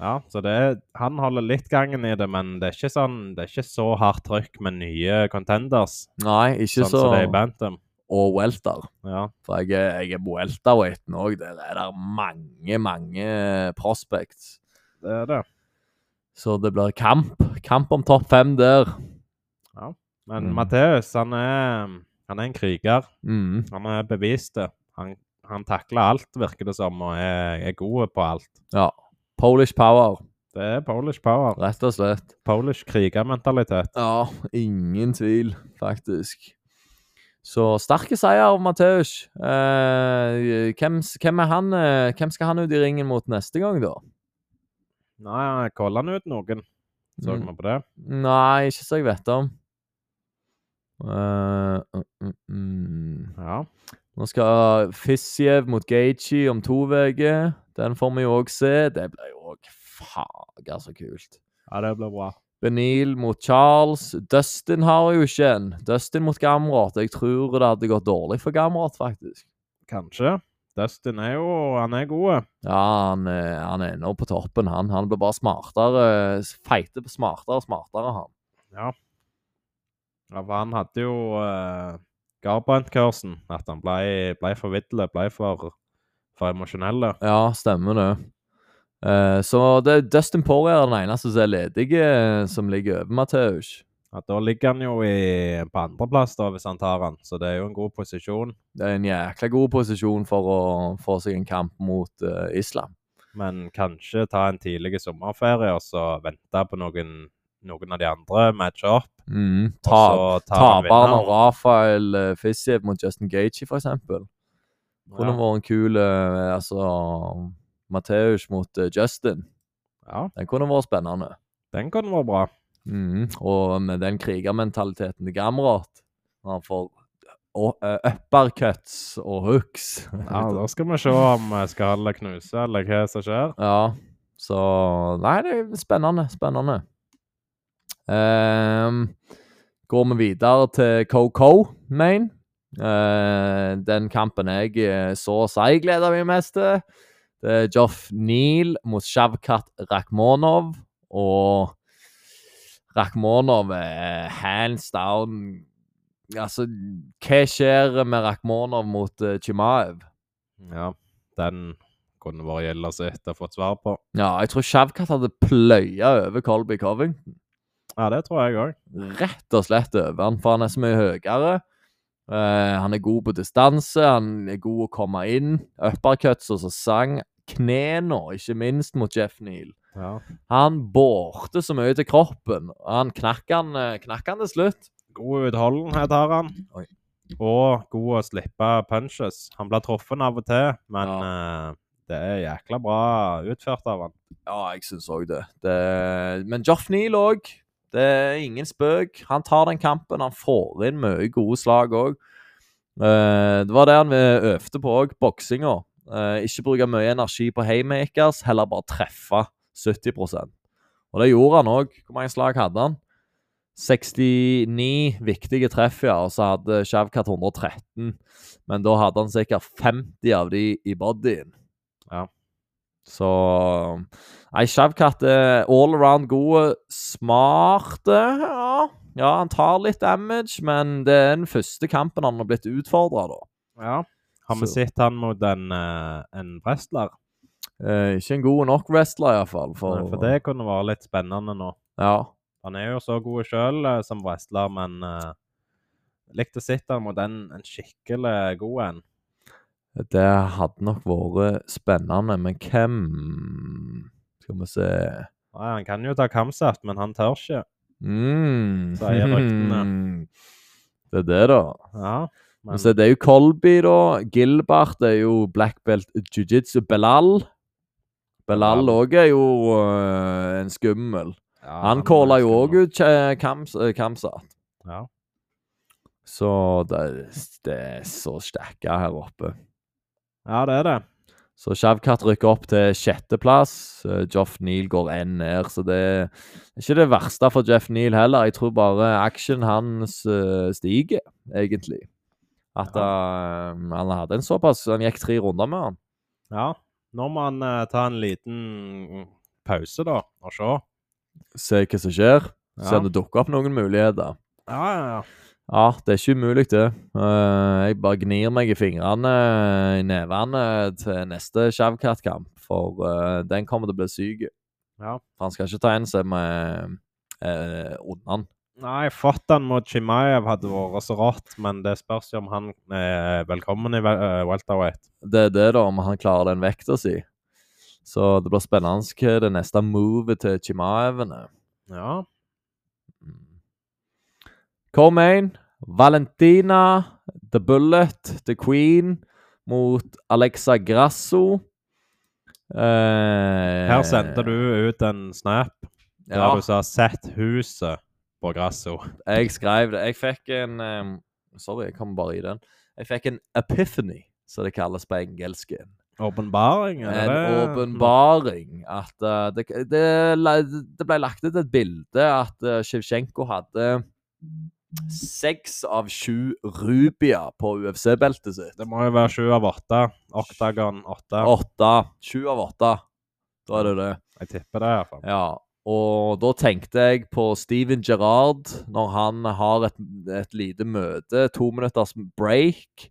Ja, så det er, Han holder litt gangen i det, men det er ikke sånn, det er ikke så hardt trykk med nye contenders. Nei, ikke Sånn så som det er i Bantam. Og welter. Ja, For jeg er, jeg er på welterweighten òg. Der er det mange, mange prospects. det er det. Så det blir kamp. Kamp om topp fem der. Men Mm. Matheus, han er, han er en kriger. Mm. Han er bevist det. Han, han takler alt, virker det som, og er, er god på alt. Ja. Polish power, Det er Polish power. rett og slett. Polish krigermentalitet. Ja, ingen tvil, faktisk. Så sterke seier av Matheus. Eh, hvem, s- hvem, er han, eh, hvem skal han ut i ringen mot neste gang, da? Nei, jeg kaller han ut noen. Så vi Mm. på det? Nei, ikke så jeg vet om. Eh, mm, mm, mm. Ja. Nå skal Fiziev mot Gaethje om to uker. Den får vi jo òg se. Det blir jo òg faga så kult. ja, det blir bra. Benil mot Charles. Dustin har jo ikke en. Dustin mot Gamrot. Jeg tror det hadde gått dårlig for Gamrot, faktisk. Kanskje. Dustin er jo Han er god. Ja, han, eh, han er nå på toppen, han. Han blir bare smartere. Feite på smartere og smartere, han. Ja, for han hadde jo uh, Garbrandt-kursen. At han ble, ble for vidle, ble for, for emosjonelle. Ja, stemmer det. Eh, så det er Dustin Poirier er den eneste som er ledig, eh, som ligger over Matheus. Ja, da ligger han jo i, på andreplass, da, hvis han tar han. Så det er jo en god posisjon. Det er en jækla god posisjon for å få seg en kamp mot eh, Islam. Men kanskje ta en tidlig sommerferie og så vente på noen, noen av de andre matche opp. Mm. og Ta, så tar han Taperen av vinneren. Rafael eh, Fiziev mot Justin Gaethje, for eksempel. Kunne Ja. vært en kul eh, Altså Matheus mot eh, Justin. ja, Den kunne vært spennende. den kunne vært bra. Mhm. Mm. Og med den krigermentaliteten til Gamrot når Han får å- eh, uppercuts og hooks. Ja, Da skal vi se om eh, skallet knuser, eller hva som skjer. Ja, så Nei, det er spennende. Spennende. Ehm, går vi videre til Coco Maine. Eh, den kampen jeg eh, så og si gleder meg mest til. Det er Joff Neal mot Shavkat Rakhmonov. Og Rakhmonov er hands down Altså, hva skjer med Rakhmonov mot eh, Chimaev? Ja, den kunne vært gjelda sitt og fått svar på. Ja, jeg tror Shavkat hadde pløya over Colby Covington. Ja, det tror jeg òg. Rett og slett over han, for han er så mye høyere. Eh, han er god på distanse, han er god å komme inn. Uppercuts og så sang. Knena, ikke minst, mot Jeff Neal. Ja. Han bårte så mye til kroppen. og Han knakk han, eh, knakk han til slutt. God utholdenhet har han. Oi. Og god å slippe punches. Han blir truffet av og til, men eh, det er jækla bra utført av han. Ja, jeg syns òg det. det. Men Joff Neal òg. Det er ingen spøk. Han tar den kampen. Han får inn mye gode slag òg. Eh, det var det han eh, øvde på òg, boksinga. Eh, ikke bruke mye energi på haymakers, heller bare treffe 70 Og det gjorde han òg. Hvor mange slag hadde han? 69 viktige treff, ja, og så hadde Shavkat 113. Men da hadde han sikkert 50 av de i bodyen. Ja. Så Nei, Shavkat er all around god, smart ja. ja, han tar litt damage, men det er den første kampen han har blitt utfordra, da. Ja. Har vi Så- sett han mot en, eh, en wrestler? Eh, ikke en god nok wrestler, iallfall. For, Nei, For det kunne vært litt spennende nå. Ja. Han er jo så god sjøl som wrestler, men eh, likte å sitte han mot en, en skikkelig god en. Det hadde nok vært spennende, men hvem Skal vi se Nei, han kan jo ta kampsaft, men han tør ikke. mm. Sier ryktene. Det er det, da. Ja, men Så det er jo Colby, da. Gilbert er jo black belt jiu-jitsu. Belal Belal Belal. òg er jo øh, en skummel. ja, Han calla jo òg skulle- ut eh, Kams- eh, Kamsat. Ja. Så det, det er så stækka her oppe. ja, det er det. Så Shavkat rykker opp til sjetteplass. Eh, Jeff Neal går én ned, så det er ikke det verste for Jeff Neal heller. Jeg tror bare action hans eh, stiger, egentlig. At eh, han hadde en såpass Han gikk tre runder med han. Ja. Nå må han eh, ta en liten pause, da, og se. Se hva som skjer. Ja. Se om det dukker opp noen muligheter. Ja, ja, ja. Ja, det er ikke umulig, det. Eh, jeg bare gnir meg i fingrene, eh, i nevene, til neste Shavkat-kamp. For eh, den kommer til å bli syk. Ja. For han skal ikke ta en som er eh, unna han. Nei, fått han mot Chimaev hadde vært så rått, men det spørs jo om han er velkommen i vel- eh, welterweight. Det er det, da, om han klarer den vekta si. Så det blir spennende hva det neste movet til Chimaeven er. Ja. Comain, Valentina, The Bullet, The Queen mot Alexa Grasso. Eh, Her sendte du ut en snap der Ja, du sa 'sett huset' på Grasso. jeg skrev det. Jeg fikk en eh, Sorry, jeg kom bare i den. Jeg fikk en epiphany, som det kalles på engelsk. Åpenbaring, er det en det? åpenbaring. At eh, det, det, la- det ble lagt ut et bilde at uh, Sjevtsjenko hadde seks av sju rubia på UFC-beltet sitt. Hm. Det må jo være sju av åtte. Oktagon åtte. Åtte. Sju av åtte. Da er det det. Jeg tipper det, iallfall. Ja. Og da tenkte jeg på Steven Gerrard når han har et, et lite møte, to minutters break,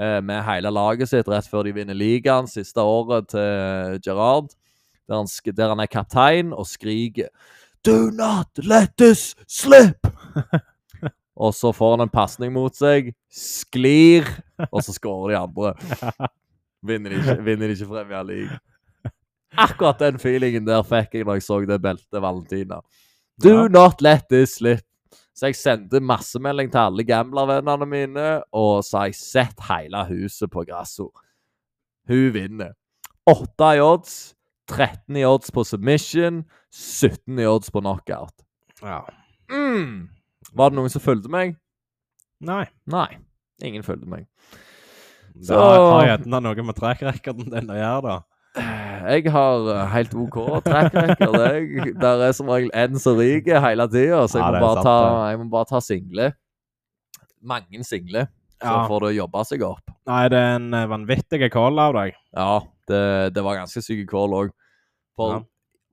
eh, med hele laget sitt rett før de vinner ligaen siste året til Gerrard, der han, sk- der han er kaptein og skriker Do not let this slip! og så får han en pasning mot seg, sklir, og så skårer de andre. Vinner de ikke, vinner de ikke Premier League. Akkurat den feelingen der fikk jeg når jeg så det beltet Valentina. Do Ja. not let this slip. Så jeg sendte massemelding til alle gamblervennene mine, og så har jeg sett hele huset på Grasso. Hun vinner. 8 i odds, 13 i odds på submission, 17 i odds på knockout. Ja. Mm. Var det noen som fulgte meg? Nei. Nei. Ingen fulgte meg. Det Så- har har gjerne noe med trackrekorden din å gjøre, da. Eh, Jeg har eh, helt OK track record. jeg. Der er som regel en som ryker hele tida, så jeg Ja, må, det er bare sant, ta, jeg må bare ta single. Mange single, så Ja. får det jobba seg opp. Nei, det er en eh, vanvittig call av deg. Ja, det, det var ganske syke call òg. For Ja.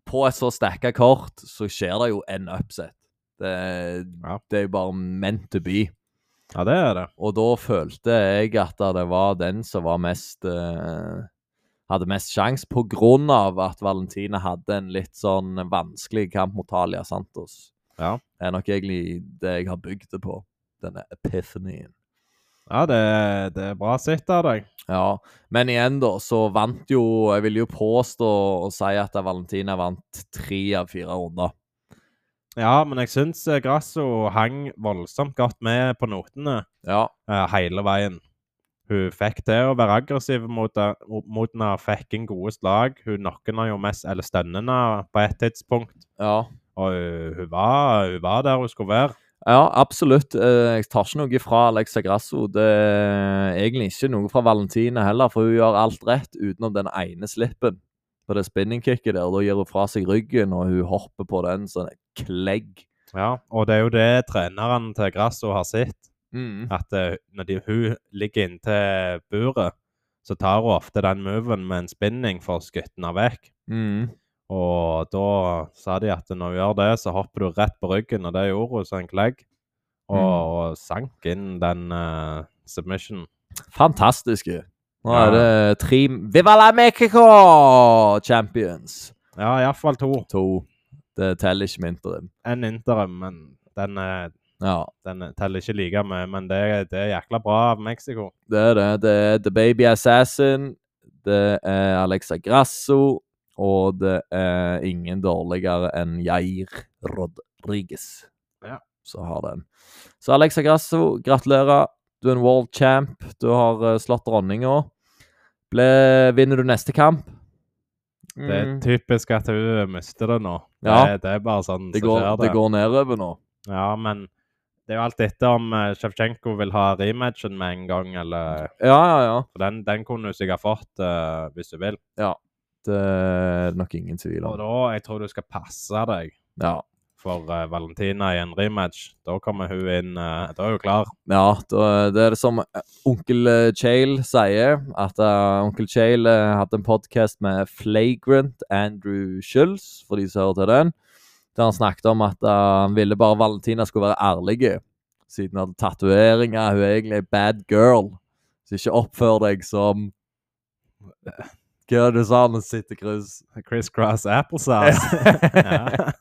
på et så stacka kort så skjer det jo en upset. Det, Ja. det er jo bare meant to be. Ja, det er det. Og da følte jeg at det var den som var mest eh, Hadde mest sjanse, på grunn av at Valentina hadde en litt sånn vanskelig kamp mot Talia Santos. Ja. Det er nok egentlig det jeg har bygd det på. Denne epiphanyen. Ja, det, det er bra sitt av deg. Ja, men igjen da, så vant jo Jeg vil jo påstå og si at Valentina vant tre av fire runder. Ja, men jeg syns eh, Grasso hang voldsomt godt med på notene Ja, eh, hele veien. Hun fikk til å være aggressiv mot det- mot henne, fikk inn gode slag. Hun knocket henne jo mest, eller stønnet henne på et tidspunkt. ja. Og eh, hun, hun, var, hun var der hun skulle være. Ja, absolutt. Eh, Jeg tar ikke noe fra Alexa Grasso. Det er egentlig ikke noe fra Valentina heller, for hun gjør alt rett utenom den ene slippen på det spinningkicket der. Da gir hun fra seg ryggen, og hun hopper på den sånn klegg. Ja, og det er jo det treneren til Grasso har sett. Mm. at eh, når de, hun ligger inntil buret, så tar hun ofte den moven med en spinning for å skutte henne vekk. Mm. Og da sa de at når hun gjør det, så hopper du rett på ryggen, og det gjorde hun som en klegg. Og, Mm. og sank inn den eh, submission. Fantastiske. Nå Ja. er det tre Viva la Mexico champions! Ja, iallfall to. to. Det teller ikke med interim. En interim, men den, eh, Ja, den teller ikke like mye. Men det, det er jækla bra av Mexico. det er det. Det er The Baby Assassin, det er Alexa Grasso, og det er ingen dårligere enn Jair Rodriguez Ja. som har den. Så Alexa Grasso, gratulerer. Du er en world champ. Du har eh, slått dronninga. Ble- Vinner du neste kamp? Det er Mm. typisk at hun mister det nå. Ja. Det, det er bare sånn det, som går, skjer det går nedover nå. Ja, men det er jo alt etter om eh, Shevchenko vil ha rematchen med en gang, eller Ja, ja, ja. for Den, den kunne du sikkert fått eh, hvis du vil. Det er nok ingen tvil Og om. da jeg tror du skal passe deg Ja. for eh, Valentina i en rematch. Da kommer hun inn eh, Da er hun klar. Ja, da- det er det som onkel eh, Chael sier, at eh, onkel Chael eh, hadde en podcast med Flagrant Andrew Schulz, for de som hører til den, der han snakket om at eh, han ville bare Valentina skulle være ærlig, siden hun hadde tatueringer, hun er egentlig en bad girl, så ikke oppfør deg som eh, Hva er det du sa, han sitter kryss? Chris Cross Applesauce. ja.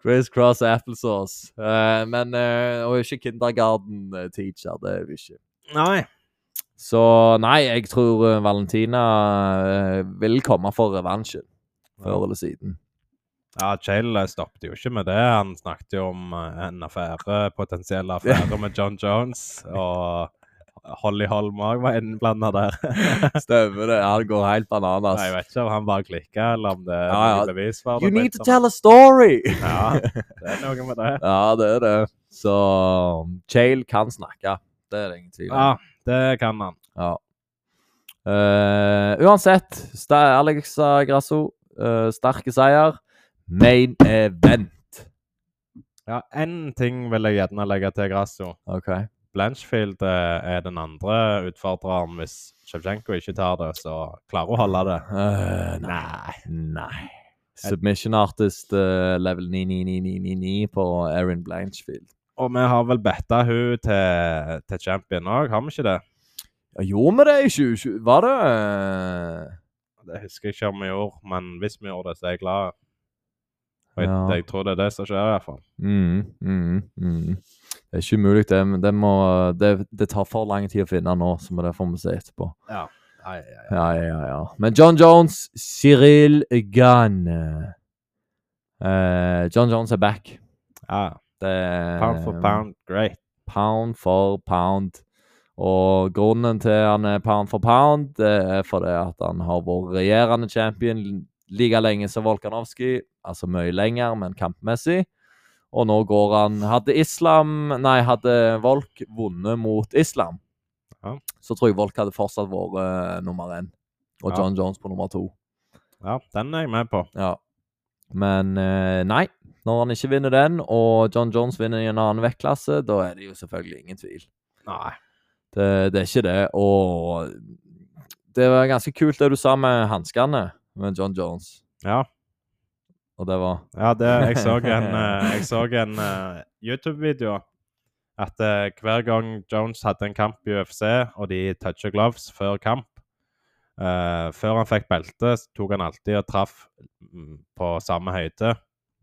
Criss cross applesauce. Eh, men eh, Hun er ikke kindergarten eh, teacher, det er hun ikke. Nei. Så nei, jeg tror eh, Valentina eh, vil komme for revansjen før eller siden. Ja, Chael eh, stoppet jo ikke med det. Han snakket jo om eh, en affære, potensiell affære med John Jones. Og Holly Holm òg var innblanda der. Stemmer det. Ja, det går helt Nei, jeg bananas. vet ikke om han bare klikka, eller om det er Ja, ja. noe bevis for det. You need to liksom. tell a story! Ja, det er noe med det. ja, det er det. Så Chael kan snakke. Det er det ingen tvil om. Ja, det kan han. Ja. Eh, uansett, sta- Alexa Grasso, eh, sterke seier. Main event. Ja, Én ting vil jeg gjerne legge til Grasso. OK. Blanchfield eh, er den andre utfordreren. Hvis Sjevtsjenko ikke tar det, så klarer hun å holde det. Eh, nei. Nei. Submission artist eh, level 99999 på Erin Blanchfield. Og vi har vel betta hun til, til champion òg, har vi ikke det? Ja, gjorde vi det i 2020? Var det eh, Det husker jeg ikke om vi gjorde, men hvis vi gjorde det, så er jeg glad. Og jeg, Ja. jeg tror det er det som skjer, i hvert fall. mm, mm, mm. Det er ikke umulig, det. Men det, må, det, det tar for lang tid å finne nå, så må det får vi se etterpå. Ja. Ai, ai, ai. Ja, ja, ja, ja. Men John Jones, Cyril Gunn Eh, John Jones er back. ja. Det er, Pound for pound, great. Pound for pound. Og grunnen til han er pound for pound, det er fordi at han har vært regjerende champion like lenge som Volkanovski. Altså mye lenger, men kampmessig. Og nå går han Hadde Islam Nei, hadde Volk vunnet mot Islam, Ja. så tror jeg Volk hadde fortsatt vært eh, nummer én. Og Ja. John Jones på nummer to. Ja, den er jeg med på. Ja. Men eh, nei, når han ikke vinner den, og John Jones vinner i en annen vektklasse, da er det jo selvfølgelig ingen tvil. Nei. Det, det er ikke det. Og det var ganske kult det du sa med hanskene med John Jones. Ja, Og det var ja det, jeg så en, eh, jeg så en eh, YouTube-video at eh, hver gang Jones hadde en kamp i UFC, og de toucher gloves før kamp eh, Før han fikk belte, så tok han alltid og traff mm, på samme høyde.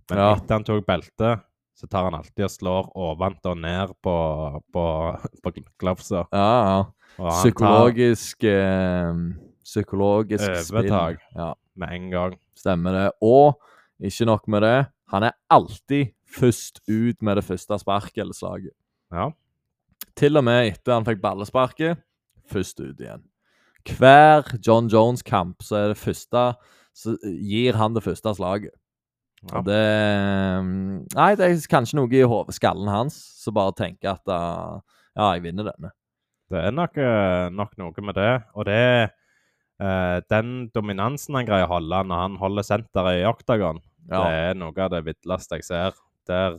Men Ja. etter han tok belte, så tar han alltid og slår ovent og ned på, på, på glovesa. Ja, Og ja. han Psykologisk eh, Psykologisk spill. Overtag. Ja, tar med en gang. stemmer det. Og ikke nok med det, han er alltid først ut med det første sparket eller slaget. Ja. Til og med etter han fikk ballesparket, først ut igjen. Hver John Jones-kamp så er det første så gir han det første slaget. Ja. Og det mm, Nei, det er kanskje noe i hodet, skallen hans, som bare tenker at ah, ja, jeg vinner denne. Det er nok, eh, nok noe med det. Og det er eh, den dominansen han greier å holde når han holder senteret i oktagon, Ja, det er noe av det villeste jeg ser. Der,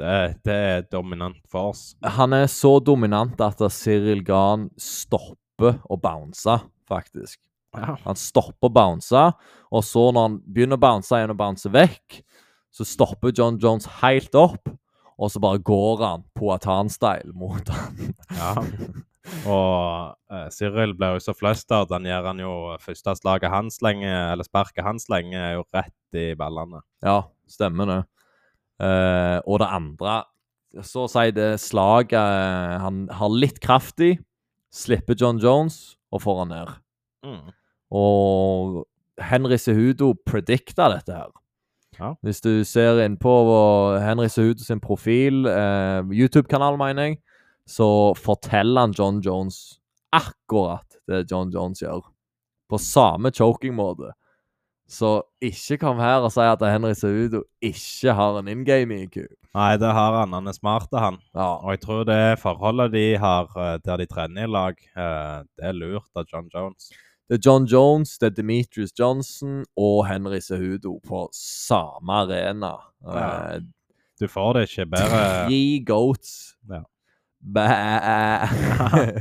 det, det er dominant for oss. Han er så dominant at Cyril Gahn stopper å bounce, faktisk. Ja. Han stopper å bounce, og så når han begynner å bounce igjen og bounce vekk, så stopper John Jones helt opp, og så bare går han Poatan-style mot han. Og eh, Cyril ble jo så fløstert. Han gjør han jo første slaget han slenger, eller sparket han slenger, er jo rett i ballene. Ja, stemmer det. Eh, og det andre Så å si det slaget eh, han har litt kraft i, slipper John Jones og får han ned. Og Henry Sehudo predikta dette her. Ja. Hvis du ser innpå Henry Sehudo sin profil, eh, YouTube-kanal, mener jeg, så forteller han John Jones akkurat det John Jones gjør. På samme choking-måte. Så ikke kom her og si at Henry Sehudo ikke har en in game-IQ. Nei, det har han. Han er smart, han. Ja, Og jeg tror det forholdet de har eh, der de trener i lag, eh, det er lurt av John Jones. Det er John Jones, det er Demetrius Johnson og Henry Sehudo på samme arena. Ja. Eh, Du får det ikke bedre Tre goats. eh, Ja. Bæ.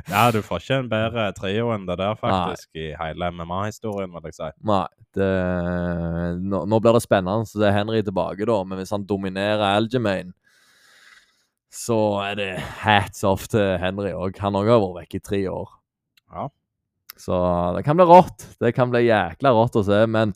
Ja, du får ikke en bedre trio enn det der, faktisk, i hele MMA-historien, vil jeg si. Nei, det, nå, nå blir det spennende. Så det er Henry tilbake, da. Men hvis han dominerer Algemane, så er det hats off til Henry òg. Han òg har vært vekk i tre år. Ja. Så det kan bli rått. Det kan bli jækla rått å se. Men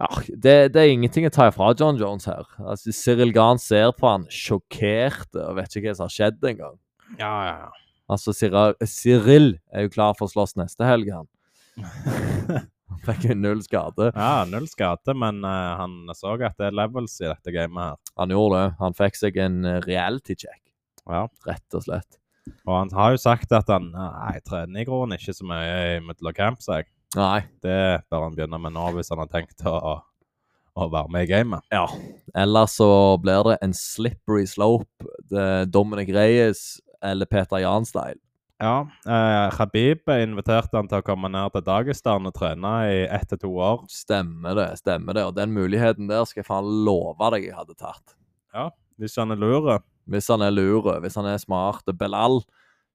ja, det, det er ingenting å ta ifra John Jones her. Altså, Cyril Gahn ser på han sjokkert og vet ikke hva som har skjedd engang. Ja, ja, ja. Altså, Cyril, Cyril er jo klar for å slåss neste helg, han. Han fikk jo null skade. ja null skade, men eh, han så at det er levels i dette gamet her. Han gjorde det. Han fikk seg en eh, reality check, Ja. rett og slett. Og han har jo sagt at han nei, trener i grunnen ikke så mye mellom camps, jeg. Nei. Det bør han begynne med nå, hvis han har tenkt å, å være med i gamet. Ja. Ellers så blir det en slippery slope. Det er Dominic Reyes eller Peter Jan-style. Ja, eh, Khabib inviterte han til å komme ned til Dagestan og trene i ett til to år. Stemmer det, stemmer det. Og den muligheten der skal jeg faen love deg jeg hadde tatt. Hvis han er lure. Hvis han er lure, hvis han er smart. Belal,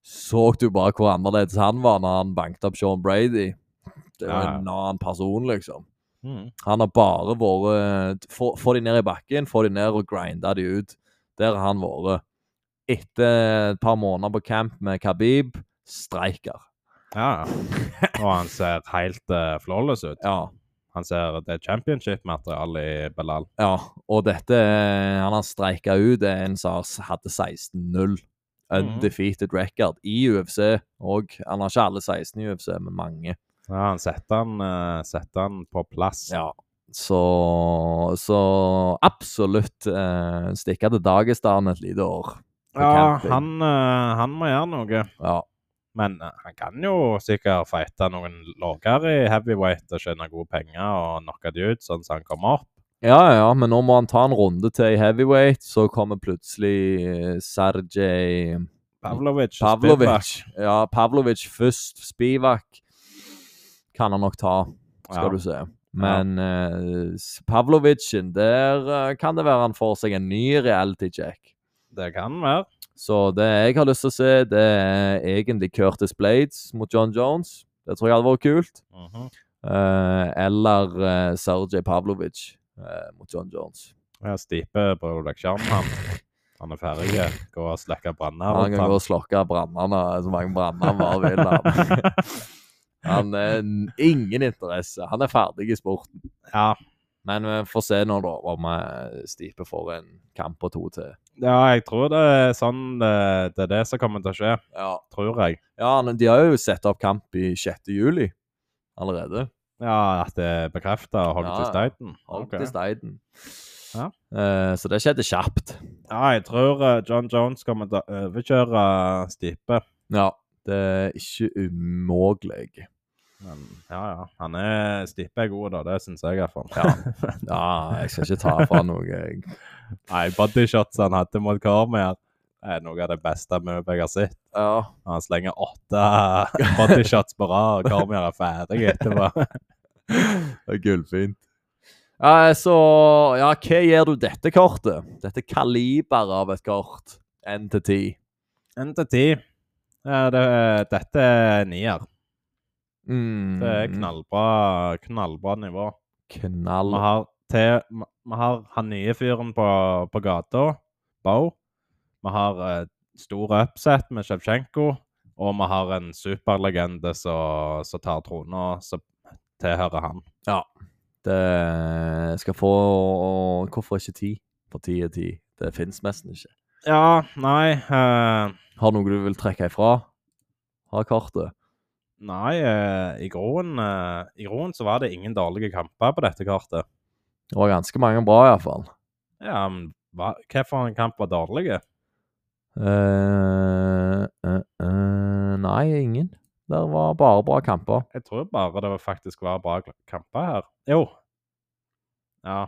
så du bare hvor annerledes han var når han banket opp Sean Brady? Det var Ja. en annen person, liksom. Mm. Han har bare vært eh, Få, få de ned i bakken, få de ned og grinda de ut. Der har han vært. Etter et par måneder på camp med Khabib, streiker. Ja. Og han ser helt eh, flawless ut. Ja. Han ser det er championship-materiale i Belal. ja. Og dette eh, Han har streika ut Det er en som har s- hadde 16-0. Mhm. Undefeated record i UFC òg. Han har ikke alle 16 i UFC, men mange. Ja, han setter han, eh, setter han på plass. Ja. Så, så absolutt eh, stikke til Dagestan et lite år. på Ja, camping. han, eh, han må gjøre noe. ja. Men eh, han kan jo sikkert fighte noen lavere i heavyweight og tjene gode penger og knocke de ut sånn som han kommer opp. Ja, ja, ja, men nå må han ta en runde til i heavyweight, så kommer plutselig eh, Sergej Pavlovic. og Pavlovic. Spivak. Ja, Pavlovic først. Spivak kan han nok ta, skal Ja. du se. Men eh, s- Pavlovicen, der eh, kan det være han får seg en ny reality check. Det kan være. Så det jeg har lyst til å se, det er egentlig Curtis Blades mot John Jones. Det tror jeg hadde vært kult. Mhm. Eh, eller uh, Sergej Pavlovic eh, mot John Jones. Ja, Stipe prøver deg sjarmen, han. Han er ferdig. Gå og slekke branner Han rundt kan gå og slokke brannene så mange branner han bare vil. Han. han er n- ingen interesse. Han er ferdig i sporten. Ja, Men vi får se nå, da, om eh, Stipe får en kamp og to til. ja, jeg tror det er sånn det, det er det som kommer til å skje, Ja, tror jeg. ja han- De har jo satt opp kamp i 6. juli allerede. Ja, at det er bekrefta og holdt Ja, til steiten. Holdt Ok. i steinen. Ja. Eh, så det skjedde kjapt. Ja, jeg tror eh, John Jones kommer til å overkjøre Stipe. Ja. Det er ikke umulig. Men ja, ja. Han er Stipe er god, da. Det syns jeg iallfall. Ja, jeg skal ikke ta fra noe. Jeg. Nei, bodyshots han hadde mot Cormier, er noe av det beste møbet jeg har sett. Ja. Han slenger åtte bodyshots på rad, og Cormier er ferdig etterpå. Det er gullfint. Ja, så Ja, hva gir du dette kortet? Dette kaliberet av et kort. Én til ti. Én til ti. Ja, det- Dette er nier. Mm. Det er knallbra, knallbra nivå. Knall. Vi har, til, vi- vi har han nye fyren på, på gata, Bow. Vi har eh, store upset med Sjevtsjenko. Og vi har en superlegende som som tar trona, som tilhører han. Det skal få Hvorfor ikke ti? For ti er ti. Det fins nesten ikke. Ja, nei eh, Har noe du vil trekke ifra? Har kortet? Nei, eh, i groen, eh, i groen så var det ingen dårlige kamper på dette kartet. Det var ganske mange bra, iallfall. Ja, men hva, hvorfor en kamp var dårlig? Uh, uh, uh, nei, ingen. Det var bare bra kamper. Jeg tror bare det var faktisk var bra kl- kamper her. Jo. Ja,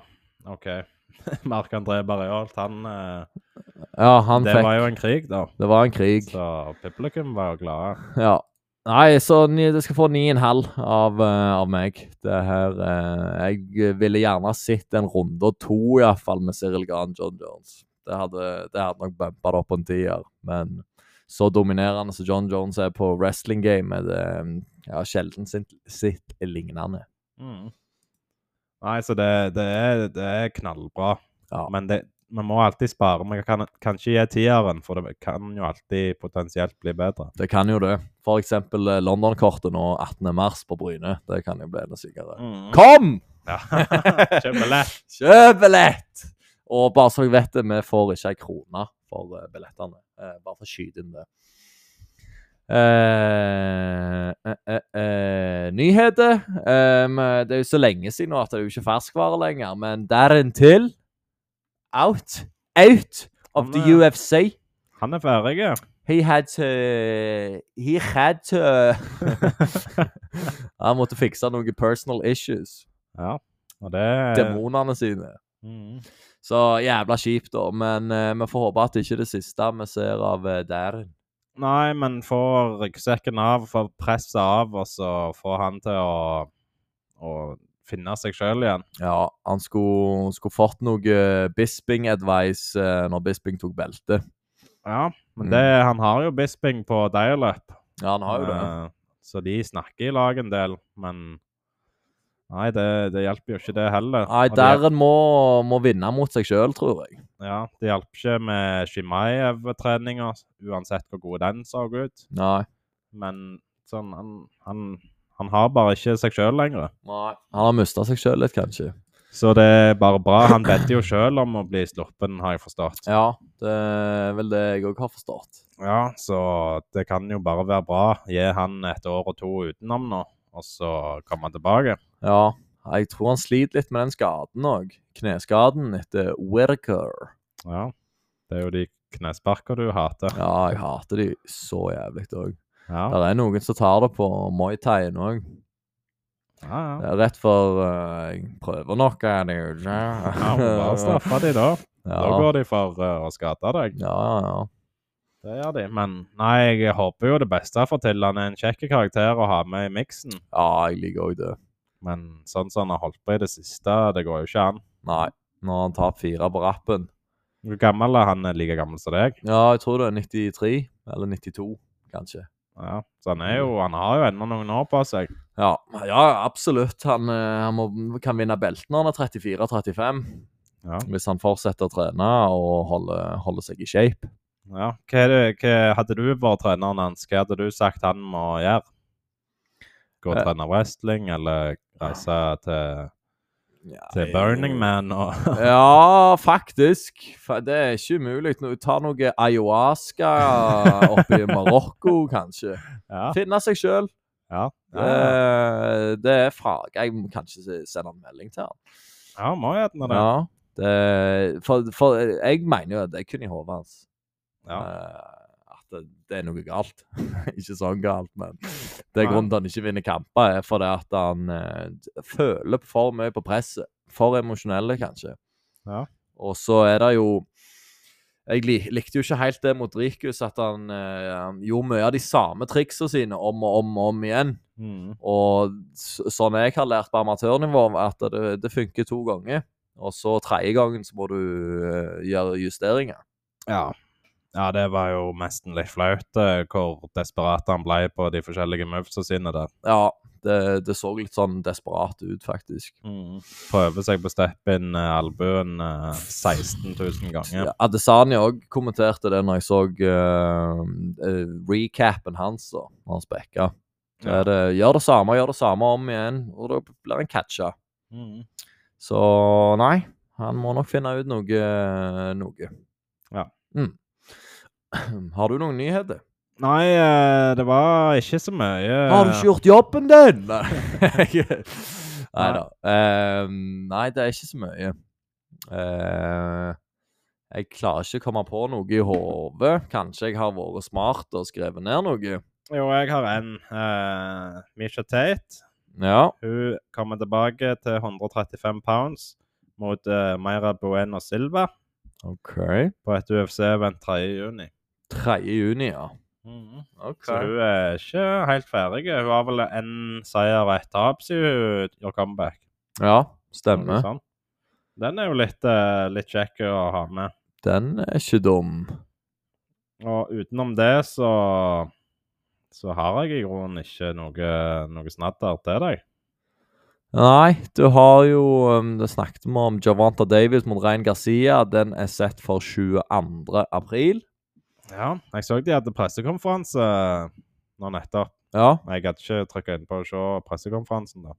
OK. Mark-André Barrealt, han, eh, Ja, han Det fikk var jo en krig, da. Det var en krig. Så publikum var jo glade. Ja. Nei, så ni- det skal få 9,5 av, eh, av meg. Det her eh, Jeg ville gjerne sett en runde og to, iallfall, med Cyril Gran John Jones. Det hadde, det hadde nok bumpa det opp på en tier, men så dominerende som John Jones er på wrestling-gamet, det eh, ja, sjelden sitt, sitt lignende. Mm. Nei, så det, det, er, det er knallbra. Ja. Men det, man må alltid spare. Man kan, kan ikke gi tieren, for det kan jo alltid potensielt bli bedre. Det kan jo det. For eksempel eh, London-kortet nå 18. mars på Bryne. Det kan jo bli enda Mm. sykere. Kom! Ja. Kjempelett. Kjøp billett! Og bare så jeg vet det, vi får ikke ei krone for eh, billettene. Eh, bare for å skyte inn det. Eh, eh, eh, eh, nyheter. Em, det er jo så lenge siden nå at det er jo ikke ferskvare lenger, men derentil Out. Out of the Han er- UFC. Han er ferdig. He had to He had to Han måtte fikse noen personal issues. Ja. Og det er Demonene sine. Mm. Så jævla kjipt, da. Men eh, vi får håpe at det ikke er det siste vi ser av uh, Darren. Nei, men få ryggsekken av, få presset av, og så få han til å, å finne seg sjøl igjen. Ja, han skulle, skulle fått noe Bisping-advice eh, når Bisping tok beltet. Ja, men Mm. det, han har jo Bisping på dial-up. Ja, han har jo det. Eh, Så de snakker i lag en del, men Nei, det, det hjelper jo ikke det heller. Nei, Og det, Darren må, må vinne mot seg sjøl, tror jeg. ja, det hjelper ikke med Shimaev-treninga, uansett hvor god den så ut. Nei. Men sånn, han, han, han har bare ikke seg sjøl lenger. Nei. Han har mista seg sjøl litt, kanskje. Så det er bare bra. Han bedte jo sjøl om å bli sluppen, har jeg forstått. Ja, det er vel det jeg òg har forstått. Ja, så det kan jo bare være bra. Gi han et år og to utenom nå, og så komme tilbake. Ja. Jeg tror han sliter litt med den skaden òg. Kneskaden etter Whittaker. Ja. Det er jo de knesparker du hater. Ja, jeg hater de så jævlig òg. Ja. Det er noen som tar det på Muay Thai nå. Ja, Eh, ja. Rett for eh, Jeg prøver noe, jeg er jo ikke Ja, må bare straffe de da. Da Ja, går de for eh, å skade deg. ja, ja. Det gjør de. Men nei, jeg håper jo det beste for til. Han er en kjekk karakter å ha med i miksen. ja jeg liker òg det. Men sånn som han har holdt på i det siste, det går jo ikke an. Nei. Når han tar fire på rappen. Hvor gammel er han? Like gammel som deg? Ja, jeg tror det er 93. Eller 92, kanskje. Ja, så han er jo Mm. Han har jo ennå noen år på seg. Ja, ja absolutt. Han, eh, han må, kan vinne belten når han er 34-35. Ja. Hvis han fortsetter å trene og holder, holder seg i shape. ja. Hva, er det, hva hadde du vært treneren hans? Hva hadde du sagt han må gjøre? Gå og Eh. trene wrestling, eller reise til, til Burning Man og Ja, faktisk. Fa- Det er ikke umulig. Nå, Ta noe ayahuasca oppe i Marokko, kanskje. Ja. Finne seg sjøl. ja. Eh. ja. Det, det er fag. Jeg må kanskje se- sende en melding til han. ja må gjerne det. Ja, det, for, for jeg mener jo at det er kun i hodet hans. Ja. Eh, at det, det er noe galt. ikke sånn galt, men det er Nei. grunnen til at han ikke vinner kamper, er fordi at han eh, føler for mye på presset. For emosjonelle, kanskje. Ja. Og så er det jo Jeg li likte jo ikke helt det mot Rikus, at han, eh, han gjorde mye av de samme triksene sine om og om og om igjen. Mm. Og s- sånn jeg har lært på amatørnivå, at det, det funker to ganger. Og så tredje gangen så må du eh, gjøre justeringer. Ja. ja, det var jo nesten litt flaut eh, hvor desperat han ble på de forskjellige movesa sine der. Ja, det, det så litt sånn desperat ut, faktisk. Prøve seg på step-in eh, albuen eh, 16 000 ganger. Ja, Adesanya òg kommenterte det når jeg så eh, eh, recapen hans da, når han spekka. Det Ja. er det, gjør det samme, gjør det samme om igjen, og da blir han catcha. Mm. Så nei, han må nok finne ut noe. noe. Ja. Mm. Har du noen nyheter? Nei, eh, det var ikke så mye Har du ikke gjort jobben din? Nei da. Ehm, nei, det er ikke så mye. Eh, jeg klarer ikke å komme på noe i hodet. Kanskje jeg har vært smart og skrevet ned noe. Jo, jeg har en. eh, Misha Tate. Ja. Hun kommer tilbake til 135 pounds mot eh, Mayra Bueno Silva OK. på et UFC-event 3. juni. 3. juni, ja. Mhm, OK. Så hun er ikke helt ferdig. Hun har vel en seier og ett tap siden hun gjorde comeback. Ja, Noe stemmer. sånt. Den er jo litt, eh, litt kjekk å ha med. Den er ikke dum. Og utenom det så så har jeg i grunnen ikke noe, noe snadder til deg. Nei, du har jo um, Det snakket vi om Javanta Davis mot Rein Garcia. Den er sett for 22. april. Ja, jeg så de hadde pressekonferanse nå nettopp. Ja. Jeg gadd ikke trykke inn på å se pressekonferansen, da.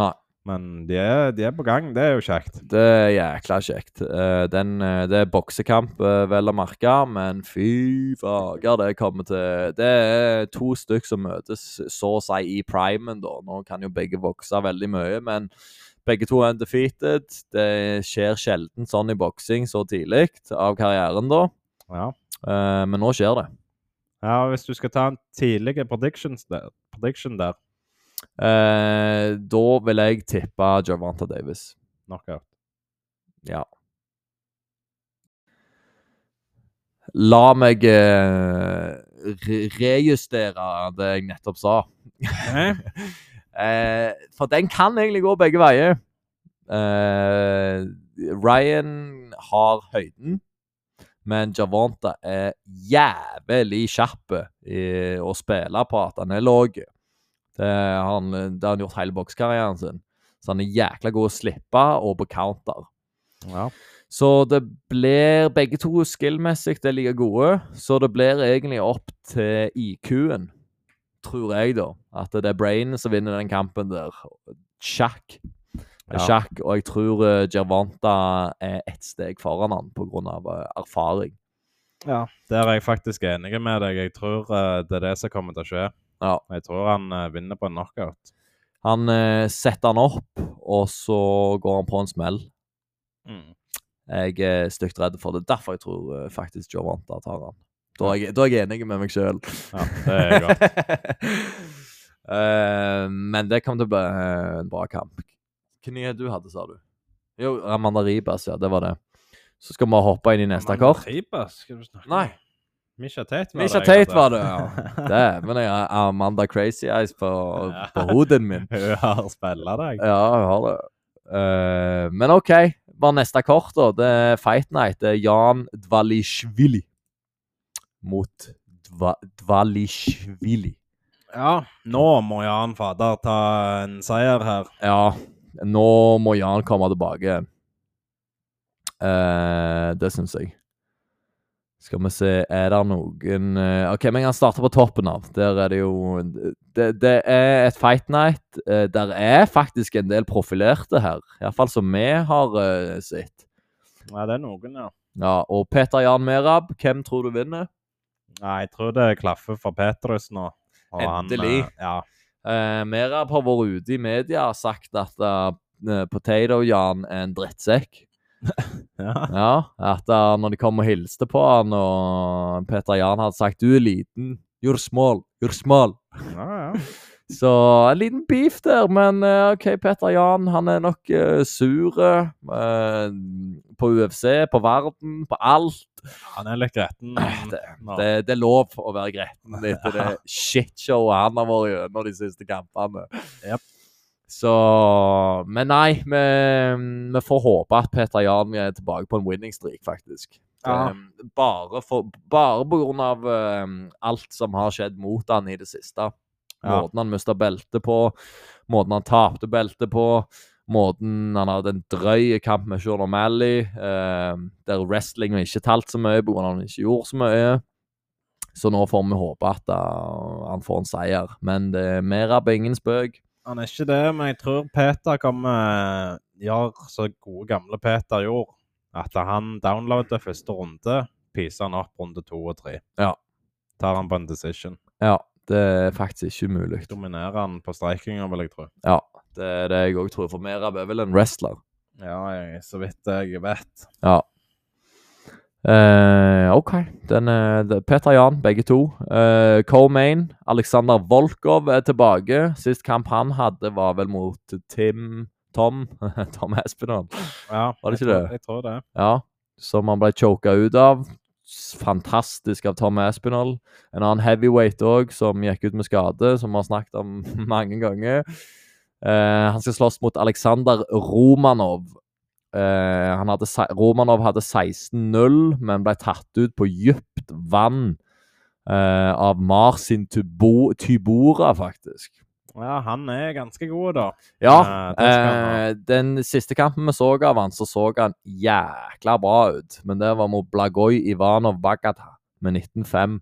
Nei. Men de er, de er på gang. Det er jo kjekt. Det er jækla kjekt. Eh, Den, eh, det er boksekamp, eh, vel å merke, men fy fager, det kommer til Det er to stykk som møtes så å si i primen, da. Nå kan jo begge vokse veldig mye, men begge to er undefeated. Det skjer sjelden sånn i boksing så tidlig av karrieren, da. Ja. Eh, Men nå skjer det. ja, og hvis du skal ta en tidlig predictions der, prediction der Eh, Da vil jeg tippe Javanta Davis. knockout. Ja. La meg eh, re- rejustere det jeg nettopp sa. Ok? Eh, for den kan egentlig gå begge veier. Eh, Ryan har høyden, men Javonta er jævlig kjapp i å spille på at han er lav. Det har han, det har han gjort hele bokskarrieren sin. Så han er jækla god å slippe og på counter. Ja. Så det blir begge to skillmessig det er like gode, så det blir egentlig opp til IQ-en, tror jeg, da. At det er brainet som vinner den kampen der. Sjakk. Ja. Sjakk, og jeg tror eh, Gervonta er ett steg foran han på grunn av eh, erfaring. Ja. Der er jeg faktisk enig med deg. Jeg tror eh, det er det som kommer til å skje. Ja. Jeg tror han eh, vinner på en knockout. Han eh, setter han opp, og så går han på en smell. Mm. Jeg er stygt redd for det. Derfor jeg tror eh, faktisk Gervonta tar han. Da er jeg, da er jeg enig med meg sjøl. Ja, det er godt. Eh, men det kom til å bli eh, en bra kamp. Hvem er det du hadde, sa du? Jo, Ramanda Ribas, ja. Det var det. Så skal vi hoppe inn i neste Amanda kort. Ribas, skal du snakke om? Nei. Misha Tate var Misha det. jeg Tate var det, hadde. ja. Dæven, jeg har Amanda Crazy Eyes på, på hodet min. Hun har spilla deg. Ja, jeg har det. Eh, men OK. Var neste kort, da. Det er Fight Night. Det er Jan Dvalishvili mot Dva Dvalishvili. Ja, nå må Jan Fader ta en seier her. Ja, nå må Jan komme tilbake igjen. Eh, det syns jeg. Skal vi se, er det noen eh, OK, vi kan starte på toppen av. Der er det jo Det, det er et fight night. Eh, der er faktisk en del profilerte her. Iallfall som vi har eh, sett. Ja, det er noen, ja. Ja, og Peter Jan Merab, hvem tror du vinner? Nei, jeg tror det klaffer for Petrus nå. Og han, Endelig. eh, ja. Eh, Merab har vært ute i media og sagt at eh, Potato-Jan er en drittsekk. ja. Ja, at uh, når de kom og hilste på han, og Peter Jan hadde sagt 'du er liten, you're small, you're small'. ja, ja. Så en liten beef der, men eh, OK, Peter Jan han er nok uh, sur eh, på UFC, på verden, på alt. Han er litt gretten. Det, nå. det, det er lov å være gretten etter det shitshowet han har vært gjennom de siste kampene. Jep. Så Men nei, vi, vi får håpe at Peter Jan er tilbake på en winning streak, faktisk. Ja. Um, Bare, for, bare på grunn av um, alt som har skjedd mot han i det siste. Ja. Måten han mista beltet på, måten han tapte beltet på, måten han hadde en drøy kamp med Sean O'Malley, um, der wrestling ikke talt så mye pga. han ikke gjorde så mye. Så nå får vi håpe at uh, han får en seier. Men det er mer av ingen spøk. Han er ikke det, men jeg tror Peter kommer gjør så gode gamle Peter gjorde. At han downloader første runde, piser han opp runde to og tre. Ja. Tar han på en decision. Ja, det er faktisk ikke umulig. Dominerer han på streikinga, vil jeg tro. Ja, det er det jeg òg tror. For Merab er vel en wrestler. Ja, jeg, så vidt jeg vet. Ja. Eh, OK. Den, eh, det- Peter Jan, begge to. Uh, Co-Main, Aleksandr Volkov er tilbake. Sist kamp han hadde, var vel mot Tim Tom. Tom Espedal. Ja, Var det jeg ikke tror- det? Jeg tror det. Ja, som han ble choka ut av. S- Fantastisk av Tom Aspinall. En annen heavyweight òg, som gikk ut med skade, som vi har snakket om mange ganger. Eh, han skal slåss mot Aleksandr Romanov. Eh, han hadde, se- Romanov hadde 16-0, men ble tatt ut på dypt vann eh, av Marcin Tubo, Tybora, faktisk. Ja, han er ganske god, da. Ja, Eh, det skal han ha. Eh, den siste kampen vi så av han, så så han jækla bra ut. Men det var mot Blagoj Ivanov Bagata med 19-5.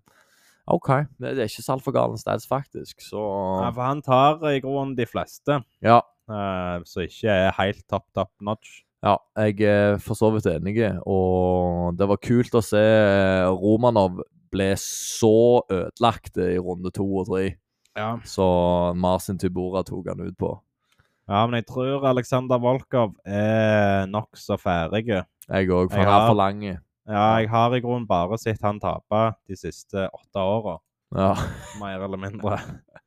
OK, det, det er ikke så altfor galen stats, faktisk. Så Ja, for han tar i grunnen de fleste Ja, eh, som ikke er helt top, top notch. ja jeg er for så vidt enig. Og det var kult å se eh, Romanov ble så ødelagt i runde to og tre. Ja. Så Marcin Tybora tok han ut på. ja, men jeg tror Aleksandr Volkov er nokså ferdig. Jeg òg, for Jeg han er har- for lang. Ja, jeg har i grunnen bare sett han tape de siste åtte åra, Ja. mer eller mindre.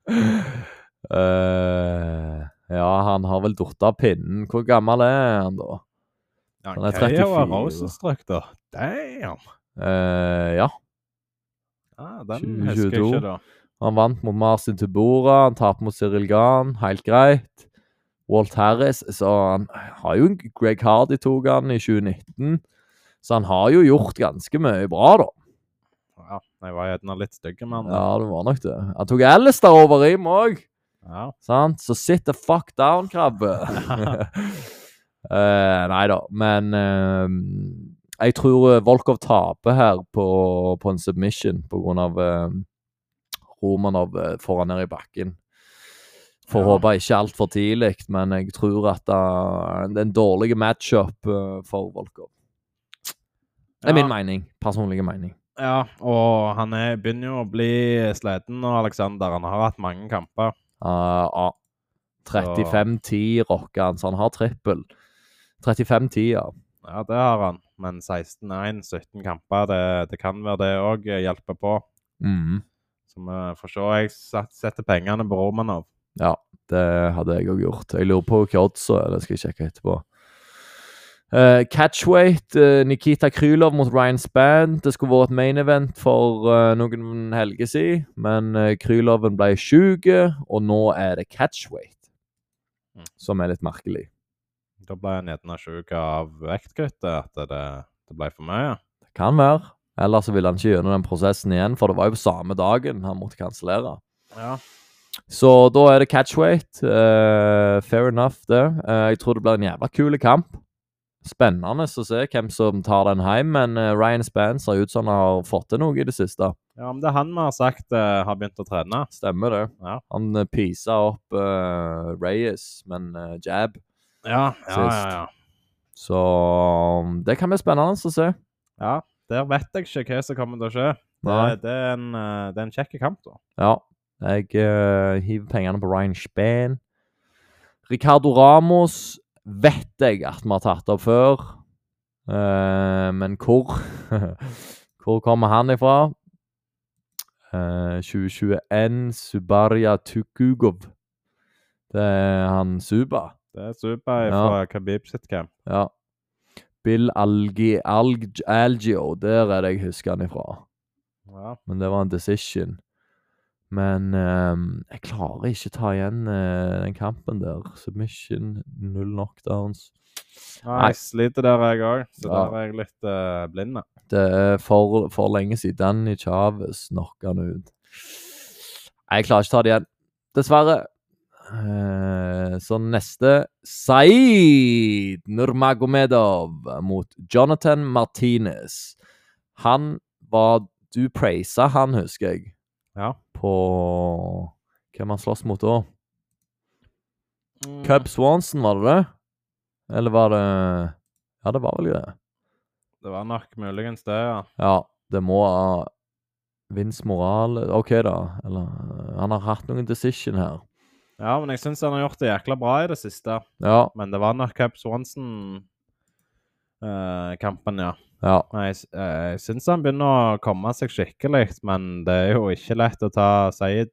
Eh, ja, han har vel datt av pinnen. Hvor gammel er han, da? Han er 34. Rosenstrøk, da. Damn! Eh, ja, Ja, den 2022. husker jeg ikke, da. han vant mot Marcin Tubora, han tapte mot Cyril Gahn, helt greit. Walt Harris, så han har jo en Greg Hardy tok han i 2019. Så han har jo gjort ganske mye bra, da. Ja, jeg var gjerne litt stygg med han. da. Ja, det var nok det. Han tok Alistair over Rim òg. Ja. Sant? Så sit the fuck down, krabbe. uh, nei da, men eh, jeg tror eh, Volkov taper her på, på en submission på grunn av eh, Romanov eh, får han ned i bakken. Får Ja. håpe ikke altfor tidlig, men jeg tror at eh, det er en dårlig matchup eh, for Volkov. Det Ja. er min mening. Personlige mening. ja, og han er, begynner jo å bli sliten nå, Aleksander. Han har hatt mange kamper. Ah, ah. 35-10 rocker han, så han har trippel. 35-10, ja. Ja, det har han. Men 16-1, 17 kamper, det, det kan være det òg eh, hjelper på. Mhm. Så Så vi får se. Jeg sat- setter pengene på Romanov. Ja, det hadde jeg òg gjort. Jeg lurer på hva oddsa er, det skal jeg sjekke etterpå. Eh, catchweight, eh, Nikita Krylov mot Ryan Spann. Det skulle vært et main event for eh, noen helger siden, men eh, Kryloven ble sjuk, og nå er det catchweight, Mm. som er litt merkelig. Da ble jeg nedenom sjuk av vektkuttet, at det, det ble for mye. Det kan være. Ellers så ville han ikke gjennom den prosessen igjen, for det var jo på samme dagen han måtte kansellere. Ja. Så da er det catchweight. eh, fair enough, det. Eh, jeg tror det blir en jævla kul kamp. Spennende å se hvem som tar den hjem, men eh, Ryan Spann ser ut som han har fått til noe i det siste. ja, men det er han vi har sagt eh, har begynt å trene. Stemmer det. Ja. Han uh, pysa opp eh, Reyes med en eh, jab, Ja, ja, ja. Sist. ja. så um, det kan bli spennende å se. ja der vet jeg ikke hva som kommer til å skje. Det, Nei. det er en, eh, det er en kjekk kamp, da. Ja. Jeg eh, hiver pengene på Ryan Spann. Ricardo Ramos vet jeg at vi har tatt opp før. Eh, men hvor Hvor kommer han ifra? Eh, 2021 Subarya Tukugov. Det er han Suba. Det er super Ja. fra Khabib sitt camp. Ja. Bill Algi, Alg, Algio. Der er det jeg husker han ifra. Ja. Men det var en decision. Men ehm, jeg klarer ikke ta igjen eh, den kampen der. Submission, null knockdowns. Ja, Nei. jeg sliter der, jeg òg, så Ja. der er jeg litt eh, blind. da. Det er for, for lenge siden Danny Chavez knocka han ut. Nei, Jeg klarer ikke ta det igjen. Dessverre. Eh, så neste Saeed Nurmagomedov mot Jonathan Martinez. Han var Du praisa han, husker jeg. Ja. På Hvem han sloss mot da? Mm. Cub Swanson, var det det? Eller var det Ja, det var vel det. Det var nok muligens det, ja. Ja, det må ha Vince Morale OK, da. Eller eh, Han har hatt noen decision her. Ja, men jeg syns han har gjort det jækla bra i det siste. Ja. Men det var nok Cub Swanson-kampen, ja. ja. Men Jeg, s- eh, jeg syns han begynner å komme seg skikkelig, men det er jo ikke lett å ta Saeed.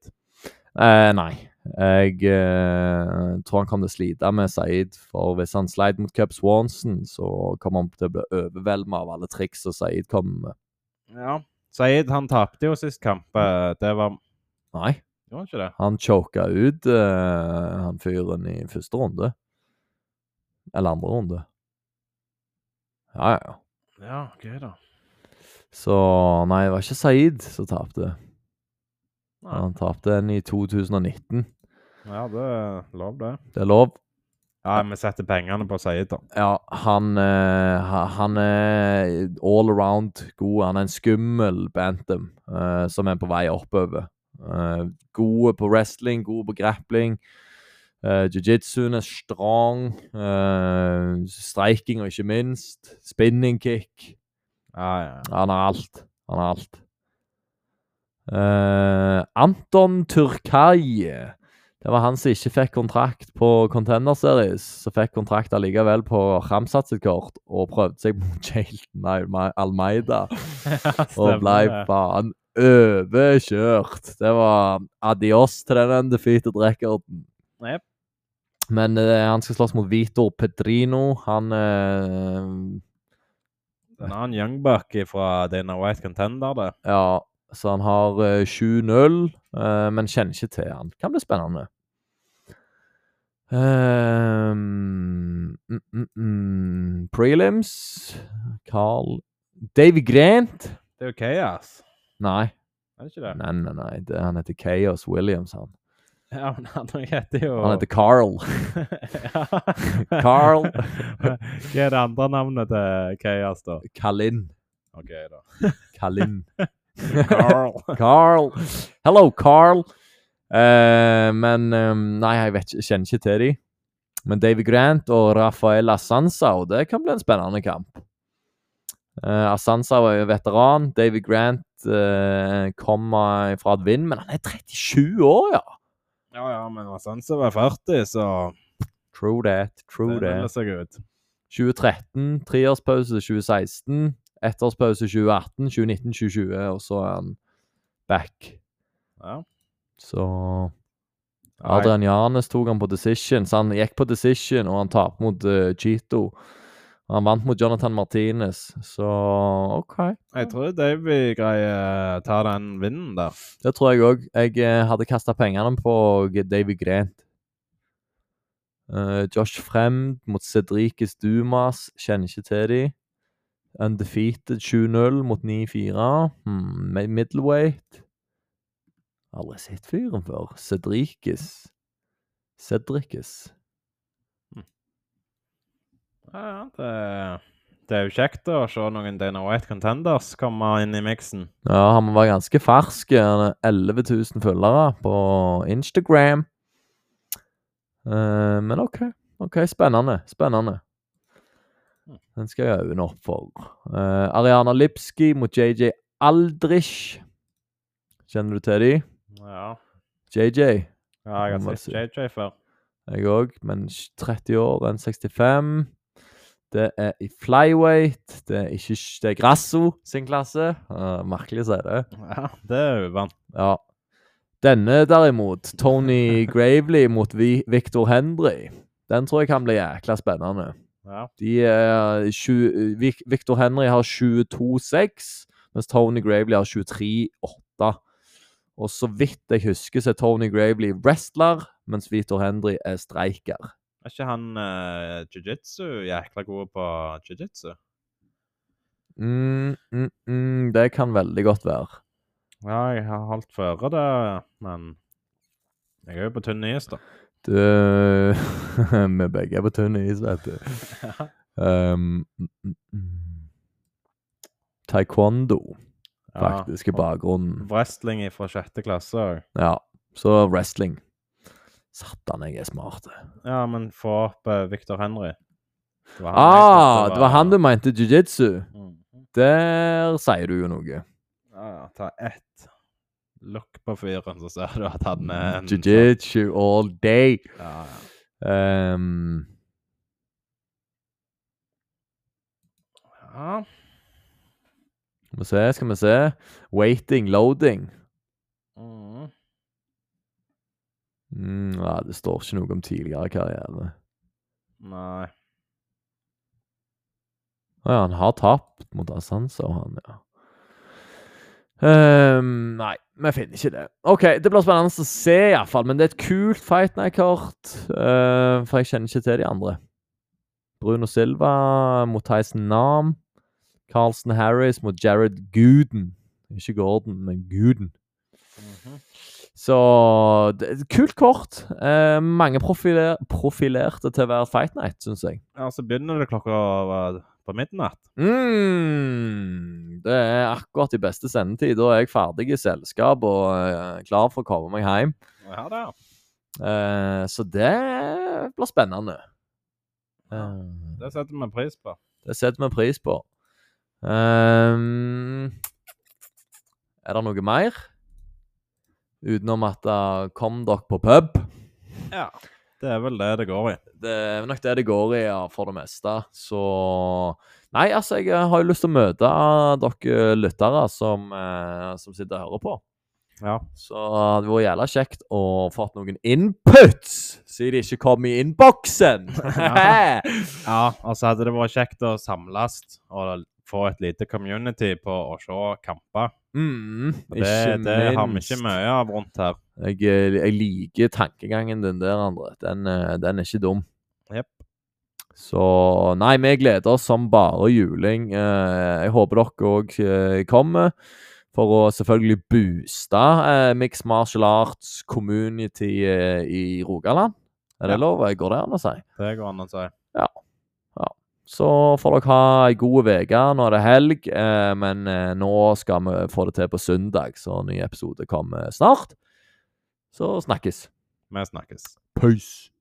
Eh, nei. Jeg eh, tror han kommer til å slite med Saeed. For hvis han sleit mot Cub Swanson, så kommer han til å bli overveldet av alle triks som Saeed kommer med. Ja. Saeed han tapte jo sist kamp. eh, Det var Nei, Gjorde han ikke det? han choka ut eh, han fyren i første runde. Eller andre runde. Ja, ja, ja. Ja, gøy, da. Så nei, det var ikke Saeed som tapte. Nei. Han tapte en i 2019. Ja, det er lov, det. Det er lov. Ja, vi setter pengene på Saeed, da. Ja, han, eh, ha- han er all around god. Han er en skummel bantam eh, som er på vei oppover. Eh, gode på wrestling, gode på grappling. Uh, Jiu-jitsuen er strong. eh, striking og ikke minst. Spinning kick. Ja, ja. ja. Han har alt. Han har alt. Eh, Anton Turkai. Det var han som ikke fikk kontrakt på Contender Series. Som fikk kontrakt allikevel på Ramsat sitt kort, og prøvde seg mot Jailton Alma- Almeida. Og ble Stemmer det. faen overkjørt. Det var adios til den undefeated rekorden. Jep. Men eh, han skal slåss mot Vitor Pedrino. Han eh, En annen young buck fra Dana White Contender, det. Ja, så han har eh, 7-0, eh, men kjenner ikke til han. Kan bli spennende. Ehm, mm, mm, mm. Prelims Carl Davy Grant? Det er jo Chaos, Nei, er det ikke det? nei, nei, nei. Det, han heter Chaos Williams, han. Ja, men han heter jo Han heter Carl. Ja. Carl. Hva er det andre navnet til Chaos, da? Kalin. OK, da. Kalin. Carl. Carl. Hello, Carl. Eh, men ehm, Nei, jeg vet, ikke- jeg kjenner ikke til de. Men Davy Grant og Rafael Asansao, det kan bli en spennende kamp. Uh, Asansao er jo veteran. Davy Grant eh, kommer fra et vind, men han er 37 år, ja. ja, ja, men var sånn som var 40, så True that. True det melder that. seg ut. 2013, treårspause 2016, ettårspause 2018, 2019, 2020, og så er han back. Ja. Så Nei, Adrian Janes tok han på decision, så han gikk på decision, og han tapte mot eh, Chito. Han vant mot Jonathan Martinez, så OK. Jeg tror Davy greier å ta den vinden der. Det tror jeg òg. Jeg eh, hadde kasta pengene på Davy Grant. Eh, Josh Fremd mot Cedrikes Dumas. Kjenner ikke til de. Undefeated 7-0 mot 9-4. Hmm, mi- middleweight. Aldri sett fyren før. Cedrikes. Cedrikes. Ja, ja, det, det er jo kjekt å se noen Dana White Contenders komme inn i miksen. Ja, han var ganske fersk. Han har 11 000 følgere på Instagram. Eh, men OK. ok, Spennende. Spennende. Den skal jeg øyne opp for. Eh, Ariana Lipski mot JJ Aldrich. Kjenner du til de? Ja, JJ? ja jeg Må har si. sett JJ før. Jeg òg, men 30 år, 1,65. Det er i flyweight. Det er ikke Det er Grasso sin klasse. Eh, merkelig å si det. Ja, det er uvant. Ja. Denne derimot, Tony Gravely mot Vi Victor Henry, den tror jeg kan bli jækla spennende. Ja. De er tju- Vic- Victor Henry har 22-6, mens Tony Gravely har 23-8. Og så vidt jeg husker, så er Tony Gravely wrestler, mens Victor Henry er streiker. Er ikke han eh, jiu-jitsu jækla god på jiu-jitsu? Mm, mm, mm, det kan veldig godt være. Ja, jeg har holdt føre det, men jeg er jo på tynn is, da. Du Vi begge er på tynn is, vet du. Um, mm, mm, mm. taekwondo, faktisk, i og bakgrunnen. Wrestling fra sjette klasse òg. Ja. Så wrestling. Satan, jeg er smart. Ja, men få opp eh, Victor Henry. Det var jeg Ah, tenkte det var han du mente jiu-jitsu. Mm. Der sier du jo noe. Ja, ja, ta ett lokk på fyren, så ser du at han er en Jiu-jitsu all day. Ja, ja. Um, ja. skal vi se, skal vi se. Waiting, loading. Mm. Mm, ja, det står ikke noe om tidligere karriere. Nei. Å ja, han har tapt mot Asanza, han, ja. Ehm, nei, vi finner ikke det. OK, det blir spennende å se, iallfall. Men det er et kult Fight Night-kart. eh, for jeg kjenner ikke til de andre. Bruno Silva mot Tyson Nam. Carlson Harris mot Jared Gooden. Ikke Gordon, men Gooden. Mhm. Så det er et kult kort. Eh, mange profiler profilerte til å være Fight Night, syns jeg. Ja, så begynner det klokka eh, på midnatt. Mm, det er akkurat i beste sendetid. Da er jeg ferdig i selskap og eh, klar for å komme meg hjem. Ja da. Eh, så det blir spennende. Eh, Det setter vi pris på. det setter vi pris på. Ehm, er det noe mer? Utenom at eh, kom dere på pub. Ja. Det er vel det det går i. det er nok det det går i ja, for det meste. Så Nei, altså, jeg har jo lyst til å møte dere lyttere som, eh, som sitter og hører på. Ja. Så det var jævla kjekt å fått noen inputs, siden de ikke kom i innboksen. Ja. Ja, altså hadde det vært kjekt å samles og få et lite community på å se kamper. mm, Og Det, det har vi ikke mye av rundt her. Jeg, eh, jeg liker tankegangen din der, André. Den, eh, den er ikke dum. Jepp. Så nei, vi gleder oss som bare juling. Eh, Jeg håper dere òg kommer. For å selvfølgelig booste eh, Mix Martial Arts community eh, i Rogaland. Er det Ja. lov? Går det an å si? Det går an å si. Så får dere ha ei god uke. Nå er det helg, eh, men eh, nå skal vi få det til på søndag, så ny episode kommer snart. Så snakkes. Vi snakkes. Peace.